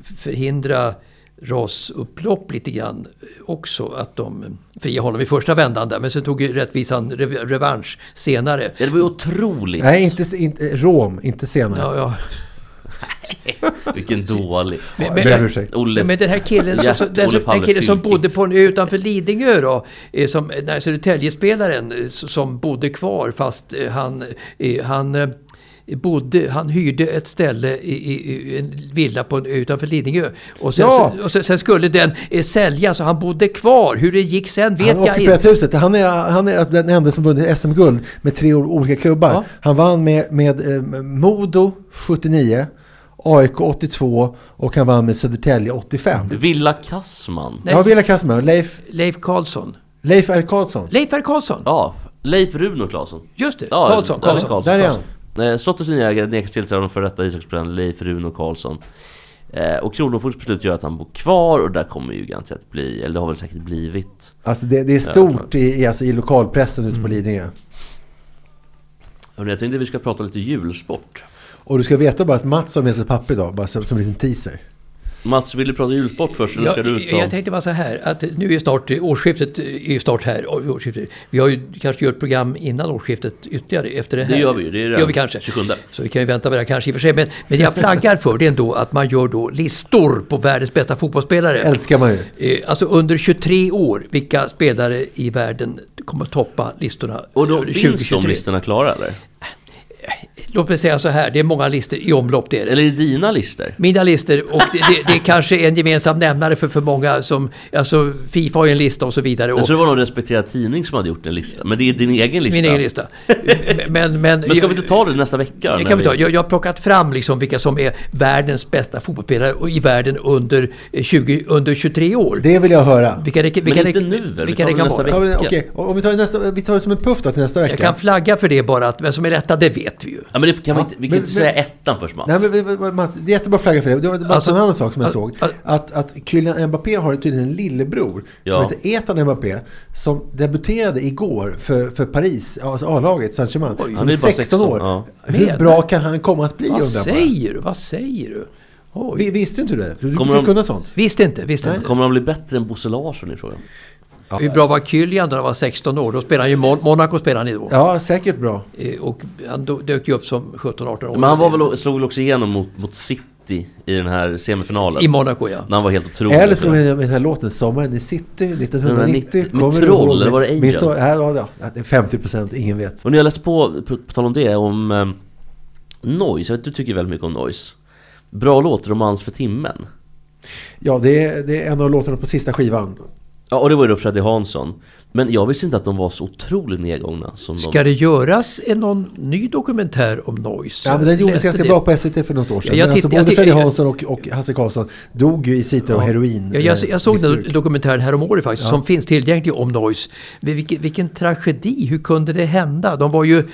[SPEAKER 4] förhindra rasupplopp lite grann eh, också. Att de friade honom i första vändan där. Men sen tog ju rättvisan re- revansch senare.
[SPEAKER 2] Ja, det var ju otroligt.
[SPEAKER 3] Nej, inte, inte Rom, inte senare.
[SPEAKER 4] Ja, ja.
[SPEAKER 2] Vilken dålig.
[SPEAKER 4] Men,
[SPEAKER 3] jag ber om ursäkt.
[SPEAKER 2] Olle.
[SPEAKER 4] men den här killen, som,
[SPEAKER 2] Hjärt-
[SPEAKER 4] som, den,
[SPEAKER 2] Olle
[SPEAKER 4] den
[SPEAKER 2] Palme
[SPEAKER 4] killen som
[SPEAKER 2] Fylking.
[SPEAKER 4] bodde på en ö utanför Lidingö då, eh, som, den här Södertäljespelaren eh, s- som bodde kvar fast eh, han, eh, han eh, bodde, han hyrde ett ställe i, i, i en villa på en ö utanför Lidingö. Och sen,
[SPEAKER 3] Ja.
[SPEAKER 4] och sen, sen skulle den eh, säljas och han bodde kvar. Hur det gick sen vet
[SPEAKER 3] Han har
[SPEAKER 4] jag inte.
[SPEAKER 3] ockuperat huset. Han är, han är den enda som vunnit SM-guld med tre ol- olika klubbar.
[SPEAKER 4] Ja.
[SPEAKER 3] Han vann med, med eh, Modo 79, AIK 82 och han vann med Södertälje 85.
[SPEAKER 2] Villa Kassman.
[SPEAKER 3] Jag har Villa Kassman, Leif,
[SPEAKER 4] Leif Karlsson.
[SPEAKER 3] Leif R. Karlsson.
[SPEAKER 4] Leif R. Karlsson!
[SPEAKER 2] Ja. Leif Runo Claesson.
[SPEAKER 4] Just det,
[SPEAKER 2] Ja,
[SPEAKER 4] Karlsson,
[SPEAKER 2] ja,
[SPEAKER 4] Karlsson.
[SPEAKER 3] Där är han.
[SPEAKER 2] Eh, Slottets nya ägare nekas tillträde av den före detta ishockeyspelaren Leif Runo Karlsson. Eh, och Kronofogdens beslut gör att han bor kvar och där kommer ju garanterat bli, eller det har väl säkert blivit.
[SPEAKER 3] Alltså det, det är stort i, i, alltså i lokalpressen ute på
[SPEAKER 4] Mm.
[SPEAKER 3] Lidingö.
[SPEAKER 2] Hörrni, jag tänkte vi ska prata lite julsport.
[SPEAKER 3] Och du ska veta bara att Mats har med sig papper idag, bara som, som en liten teaser.
[SPEAKER 2] Mats, vill du prata julsport först? Eller
[SPEAKER 4] Ja,
[SPEAKER 2] ska du ut
[SPEAKER 4] jag
[SPEAKER 2] och...
[SPEAKER 4] tänkte bara så här att nu är snart årsskiftet är ju snart här. Årsskiftet. Vi har ju kanske gjort program innan årsskiftet ytterligare efter det här.
[SPEAKER 2] Det gör vi ju. Det är
[SPEAKER 4] gör vi
[SPEAKER 2] redan
[SPEAKER 4] kanske.
[SPEAKER 2] 27.
[SPEAKER 4] Så vi kan ju vänta med det här kanske i och för sig. Men, men det jag flaggar för det är ändå att man gör då listor på världens bästa fotbollsspelare.
[SPEAKER 3] Älskar man ju.
[SPEAKER 4] Eh, Alltså under 23 år, vilka spelare i världen kommer toppa listorna
[SPEAKER 2] Och då
[SPEAKER 4] under
[SPEAKER 2] finns de listorna klara eller?
[SPEAKER 4] Låt mig säga så här, det är många listor i omlopp det.
[SPEAKER 2] Eller är det dina listor?
[SPEAKER 4] Mina listor och det, det, det kanske är en gemensam nämnare för för många som, alltså Fifa har ju en lista och så vidare.
[SPEAKER 2] Jag
[SPEAKER 4] Och
[SPEAKER 2] tror det var någon respekterad tidning som hade gjort en lista. Men det är din egen lista.
[SPEAKER 4] min egen lista. Men, men,
[SPEAKER 2] Men ska vi inte ta det nästa vecka?
[SPEAKER 4] Det
[SPEAKER 2] när
[SPEAKER 4] kan vi ta. Jag, jag har plockat fram liksom vilka som är världens bästa fotbollsspelare och i världen under, eh, 20, under 23 år.
[SPEAKER 3] Det vill jag höra.
[SPEAKER 4] Vilka det, vilka det, vilka det kan vara.
[SPEAKER 3] Tar vi det- Okej, och om vi tar det, nästa, vi tar det som en puff då till nästa vecka.
[SPEAKER 4] Jag kan flagga för det bara, att vem som är rätta det vet vi ju.
[SPEAKER 2] Ja, men det kan vi inte, vi kan
[SPEAKER 3] men-
[SPEAKER 2] inte säga
[SPEAKER 3] men-
[SPEAKER 2] ettan först Mats.
[SPEAKER 3] Nej, men, vi- vi- Mats, det är jättebra flagga för det. Det var bara
[SPEAKER 2] Alltså-
[SPEAKER 3] en annan sak som jag
[SPEAKER 2] Al-
[SPEAKER 3] såg. Att, att Kylian Mbappé har tydligen en lillebror
[SPEAKER 2] Ja.
[SPEAKER 3] som heter Ethan Mbappé som debuterade igår för, för Paris, alltså A-laget, Saint-Germain,
[SPEAKER 4] Oj.
[SPEAKER 3] som
[SPEAKER 4] Han
[SPEAKER 3] är
[SPEAKER 4] är bara
[SPEAKER 3] 16,
[SPEAKER 4] 16,
[SPEAKER 3] år.
[SPEAKER 4] ja.
[SPEAKER 3] Hur bra kan han komma att bli
[SPEAKER 4] Vad
[SPEAKER 3] undrar jag bara.
[SPEAKER 4] säger du? Vad säger du? Oj.
[SPEAKER 3] Vi, Visste inte du det? Du
[SPEAKER 2] Kommer
[SPEAKER 3] du
[SPEAKER 2] de-
[SPEAKER 3] kunde sånt?
[SPEAKER 4] Visste inte, visste
[SPEAKER 2] Nej.
[SPEAKER 4] inte.
[SPEAKER 2] Kommer de bli bättre än Bosse Larsson i frågan?
[SPEAKER 4] Hur bra var Kylian när han var 16 år? Då spelade han ju Mon- Monaco spelade han i då.
[SPEAKER 3] Ja, säkert bra.
[SPEAKER 4] Eh, Och han do- dök ju upp som 17-18 år.
[SPEAKER 2] Men han var väl, slog väl också igenom mot, mot City i den här semifinalen?
[SPEAKER 4] I Monaco, ja.
[SPEAKER 2] När han var helt otrolig.
[SPEAKER 3] Eller som med den här låten, Sommaren i city 1990.
[SPEAKER 2] 1990. Med Troll, eller var det Angel?
[SPEAKER 3] Minns du? Ja, ja, ja, det är 50 procent, ingen vet.
[SPEAKER 2] Och när jag läste på, på, på tal om det, om eh, Noise. Jag vet du tycker väldigt mycket om Noise. Bra låt, Romans för timmen.
[SPEAKER 3] Ja, det är, det är en av låtarna på sista skivan.
[SPEAKER 2] Ja, och det var ju då Freddy Hansson. Men jag visste inte att de var så otroligt nedgångna som
[SPEAKER 4] Ska
[SPEAKER 2] de...
[SPEAKER 4] det göras en någon ny dokumentär om noise?
[SPEAKER 3] Ja, men den gjordes
[SPEAKER 4] Läste
[SPEAKER 3] ganska
[SPEAKER 4] det.
[SPEAKER 3] bra på SVT för något år sedan.
[SPEAKER 4] Ja, jag
[SPEAKER 3] Men alltså,
[SPEAKER 4] titt- jag
[SPEAKER 3] både
[SPEAKER 4] titt-
[SPEAKER 3] Freddy
[SPEAKER 4] jag-
[SPEAKER 3] Hansson och, och Hasse Karlsson dog ju i citer och heroin.
[SPEAKER 4] Ja, jag, jag såg
[SPEAKER 3] eh, missbruk.
[SPEAKER 4] den dokumentären häromåret faktiskt,
[SPEAKER 3] Ja.
[SPEAKER 4] som finns tillgänglig om Noise. Men Vilken, vilken tragedi, hur kunde det hända? De var ju eh,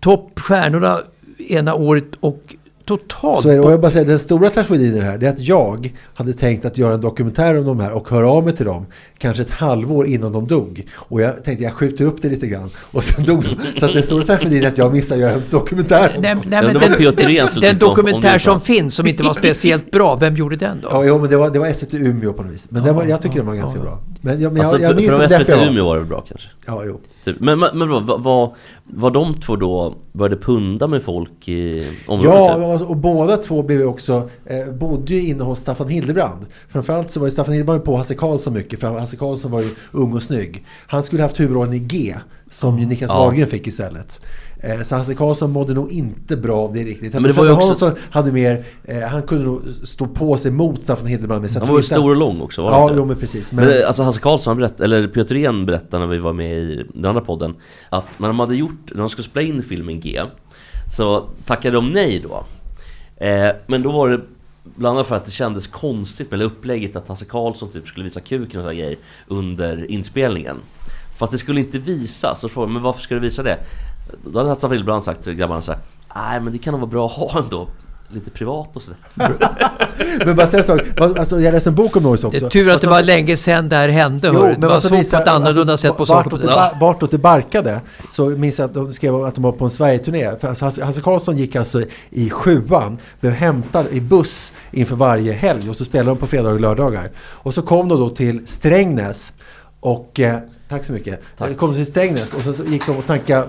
[SPEAKER 4] toppstjärnorna ena året och totalt...
[SPEAKER 3] Så är det, och jag bara säger, den stora tragedin i det här det är att jag hade tänkt att göra en dokumentär om de här och höra av mig till dem kanske ett halvår innan de dog. Och jag tänkte jag skjuter upp det lite grann och sen dog de. Så att den stora tragedin är att jag missade att göra en dokumentär. om
[SPEAKER 4] Nej,
[SPEAKER 3] dem.
[SPEAKER 4] nej, men den, den, den dokumentär som finns, som inte var speciellt bra, vem gjorde den då?
[SPEAKER 3] Ja, jo, men det var, det var SVT Umeå på något vis. Men den var, jag tycker den var ganska bra. Men jag, men jag,
[SPEAKER 2] Alltså,
[SPEAKER 3] jag
[SPEAKER 2] för-
[SPEAKER 3] minns
[SPEAKER 2] för
[SPEAKER 3] hur
[SPEAKER 2] de SVT
[SPEAKER 3] deppig jag var.
[SPEAKER 2] Umeå var det bra kanske?
[SPEAKER 3] Ja, jo.
[SPEAKER 2] Typ. Men, men, men vad, vad- vad, vad de två då började punda med folk i området?
[SPEAKER 3] Ja, alltså,
[SPEAKER 2] typ?
[SPEAKER 3] och- och båda två blev ju också, eh, bodde ju inne hos Staffan Hildebrand. Framförallt så var ju Staffan Hildebrand på Hasse Karlsson mycket, för Hasse Karlsson var ju ung och snygg. Han skulle haft huvudrollen i G, som ju Niklas
[SPEAKER 2] Ja.
[SPEAKER 3] Wahlgren fick istället. Eh, så Hasse Karlsson mådde nog inte bra av det riktigt.
[SPEAKER 2] Men
[SPEAKER 3] Men
[SPEAKER 2] det var
[SPEAKER 3] det
[SPEAKER 2] ju också-
[SPEAKER 3] Hansson hade mer, eh, han kunde nog stå på sig mot Staffan Hildebrand med
[SPEAKER 2] Han var ju
[SPEAKER 3] satiriken.
[SPEAKER 2] stor och lång också var han
[SPEAKER 3] Ja,
[SPEAKER 2] inte det?
[SPEAKER 3] jo, men precis.
[SPEAKER 2] Men,
[SPEAKER 3] Men,
[SPEAKER 2] alltså Hasse Karlsson, han berätt, eller Peter Ren berättade när vi var med i den andra podden Att när de hade gjort, när de skulle spela in filmen G Så tackade de nej då eh, Men då var det Bland annat för att det kändes konstigt med det upplägget att Hasse Karlsson typ skulle visa kuken och sådana grejer Under inspelningen Fast det skulle inte visas, så frågade jag, men varför ska du visa det? Då hade Staffan Hildebrand sagt till grabbarna såhär Nej men det kan nog vara bra att ha ändå Lite privat och sådär
[SPEAKER 3] men bara säga en sak, alltså, jag läste en bok om Noise
[SPEAKER 4] Det
[SPEAKER 3] också. Alltså-
[SPEAKER 4] är tur att det var länge sedan det här hände. hörru. det var
[SPEAKER 3] vad som
[SPEAKER 4] svårt
[SPEAKER 3] visar-
[SPEAKER 4] på ett annorlunda
[SPEAKER 3] alltså
[SPEAKER 4] sätt på saker.
[SPEAKER 3] vartåt,
[SPEAKER 4] på
[SPEAKER 3] det,
[SPEAKER 4] den tiden.
[SPEAKER 3] ba- vartåt det barkade så minns jag att de skrev att de var på en Sverigeturné. För alltså Hasse, Hasse Karlsson gick alltså i sjuan, blev hämtad i buss inför varje helg och så spelade de på fredagar och lördagar. Och så kom de då till Strängnäs och eh, Tack så mycket. De kom till Strängnäs och så så gick de och tankade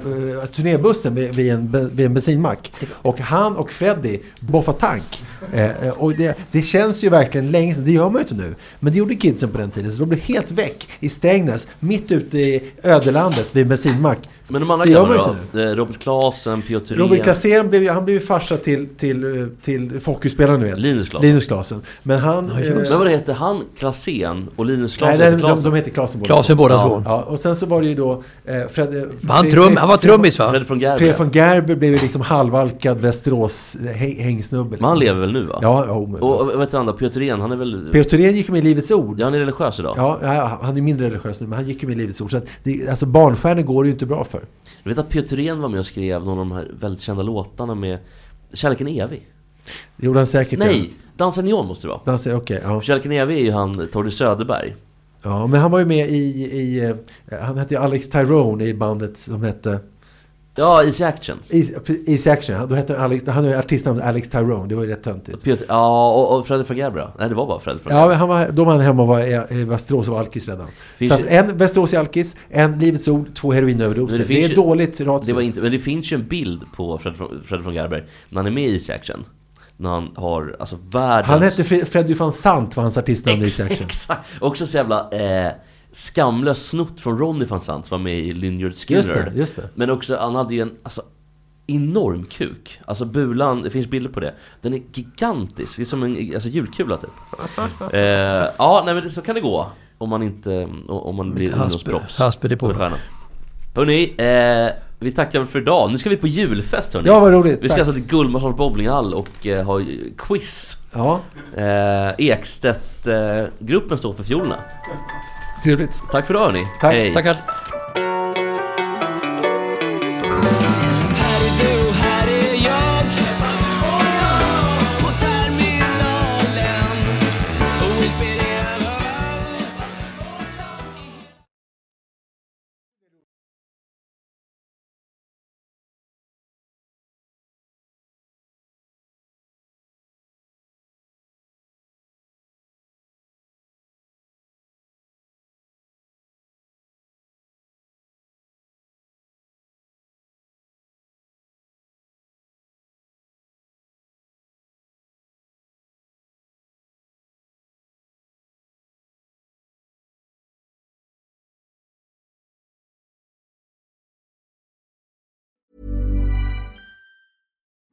[SPEAKER 3] eh, turnébussen vid, vid, en, be- vid en bensinmack. Och han och Freddy boffade tank. Eh, eh, och det, det känns ju verkligen länge sedan, det gör man ju inte nu. Men det gjorde kidsen på den tiden, så de blev helt väck i Strängnäs, mitt ute i ödelandet vid en bensinmack.
[SPEAKER 2] Men de andra
[SPEAKER 3] det gör man ju
[SPEAKER 2] grabbarna
[SPEAKER 3] inte nu.
[SPEAKER 2] då? Eh, Robert Klasen, Piotr
[SPEAKER 3] Robert Klasen blev ju, han blev ju farsa till, till, eh, till Fokusspelaren du vet.
[SPEAKER 2] Linus Klasen.
[SPEAKER 3] Linus Klasen. Men han... eh,
[SPEAKER 2] Men vad heter han? Klasen och Linus
[SPEAKER 3] Nej,
[SPEAKER 2] Klasen?
[SPEAKER 3] nej
[SPEAKER 2] heter
[SPEAKER 3] de,
[SPEAKER 2] Klasen.
[SPEAKER 3] de heter Klasen båda
[SPEAKER 4] Klasen
[SPEAKER 3] två.
[SPEAKER 4] båda
[SPEAKER 3] ja.
[SPEAKER 4] två.
[SPEAKER 3] Ja, och sen så var det ju då... Eh, Fred, eh,
[SPEAKER 4] Var han
[SPEAKER 3] Fred-
[SPEAKER 4] trum-
[SPEAKER 3] Fred-
[SPEAKER 4] han var
[SPEAKER 3] Fred-
[SPEAKER 4] trummis, va?
[SPEAKER 2] Fred från Gerber.
[SPEAKER 3] Fred von Gerber blev ju liksom halvalkad Västerås-hängsnubbe. Liksom.
[SPEAKER 2] Men han lever väl nu va?
[SPEAKER 3] Ja, oh jo, men-
[SPEAKER 2] Och vad heter han då? Piotr Ren, han är väl...
[SPEAKER 3] P.O. Thorén gick ju med i Livets Ord.
[SPEAKER 2] Ja, han är religiös idag.
[SPEAKER 3] Ja, ja, han är mindre religiös nu, men han gick ju med i Livets Ord. Så att det, alltså barnstjärnor går det ju inte bra för.
[SPEAKER 2] Du vet att Piotr Ren var med och skrev någon av de här väldigt kända låtarna med Kärleken är evig?
[SPEAKER 3] Det gjorde han säkert.
[SPEAKER 2] Nej! Dansa neon måste det vara.
[SPEAKER 3] ja. Han säger, okej, ja.
[SPEAKER 2] För Kärleken är evig är ju han Tordy Söderberg.
[SPEAKER 3] ja. Men han var ju med i... i eh, han hette ju Alex Tyrone i bandet som hette...
[SPEAKER 2] Ja, Easy Action.
[SPEAKER 3] Easy, Easy Action, ja. då hette han Alex, han hade ju artistnamnet Alex Tyrone, det var ju rätt töntigt.
[SPEAKER 2] Peter, ja, och, och Fredde Fagabra. Nej, det var bara Fredde Fagabra.
[SPEAKER 3] Ja, men han var, då var han hemma och var i, i Västerås och var alkis redan.
[SPEAKER 2] Finns
[SPEAKER 3] så att
[SPEAKER 2] ju-
[SPEAKER 3] en Västerås i alkis, en Livets Ord, två heroinöverdoser. Det,
[SPEAKER 2] finns
[SPEAKER 3] är
[SPEAKER 2] ju-
[SPEAKER 3] dåligt ratio.
[SPEAKER 2] Det var inte, men det finns ju en bild på Fred, Fred von Gerber när han är med i Easy Action. När han har, alltså världens...
[SPEAKER 3] Han hette Fre- Freddy van Sant var hans artistnamn i Easy Action.
[SPEAKER 2] Exakt! Också så jävla eh, skamlös snott från Ronny van Sant som var med i Lynyrd Skinner.
[SPEAKER 3] Just det, just det.
[SPEAKER 2] Men också, han hade ju en alltså, enorm kuk. Alltså bulan, det finns bilder på det. Den är gigantisk, det är som en alltså, julkula typ. eh, ja, nej men det, så kan det gå. Om man inte, om man blir
[SPEAKER 4] Hasper-
[SPEAKER 2] ungdomsproffs.
[SPEAKER 4] Hasper, det på.
[SPEAKER 2] Som en stjärna. Hörrni, eh, vi tackar för idag. Nu ska vi på julfest hörni.
[SPEAKER 3] Ja, vad roligt.
[SPEAKER 2] Vi ska
[SPEAKER 3] Tack.
[SPEAKER 2] alltså till Gullmarssons bowlinghall och eh, ha ju quiz.
[SPEAKER 3] Ja.
[SPEAKER 2] Eh, Ekstedt-gruppen står för fiolerna.
[SPEAKER 3] Trevligt.
[SPEAKER 2] Tack för idag hörni.
[SPEAKER 3] Tack.
[SPEAKER 2] Hej.
[SPEAKER 3] Tackar.
[SPEAKER 1] Här är du, här är jag På terminalen Och inspirerad av allt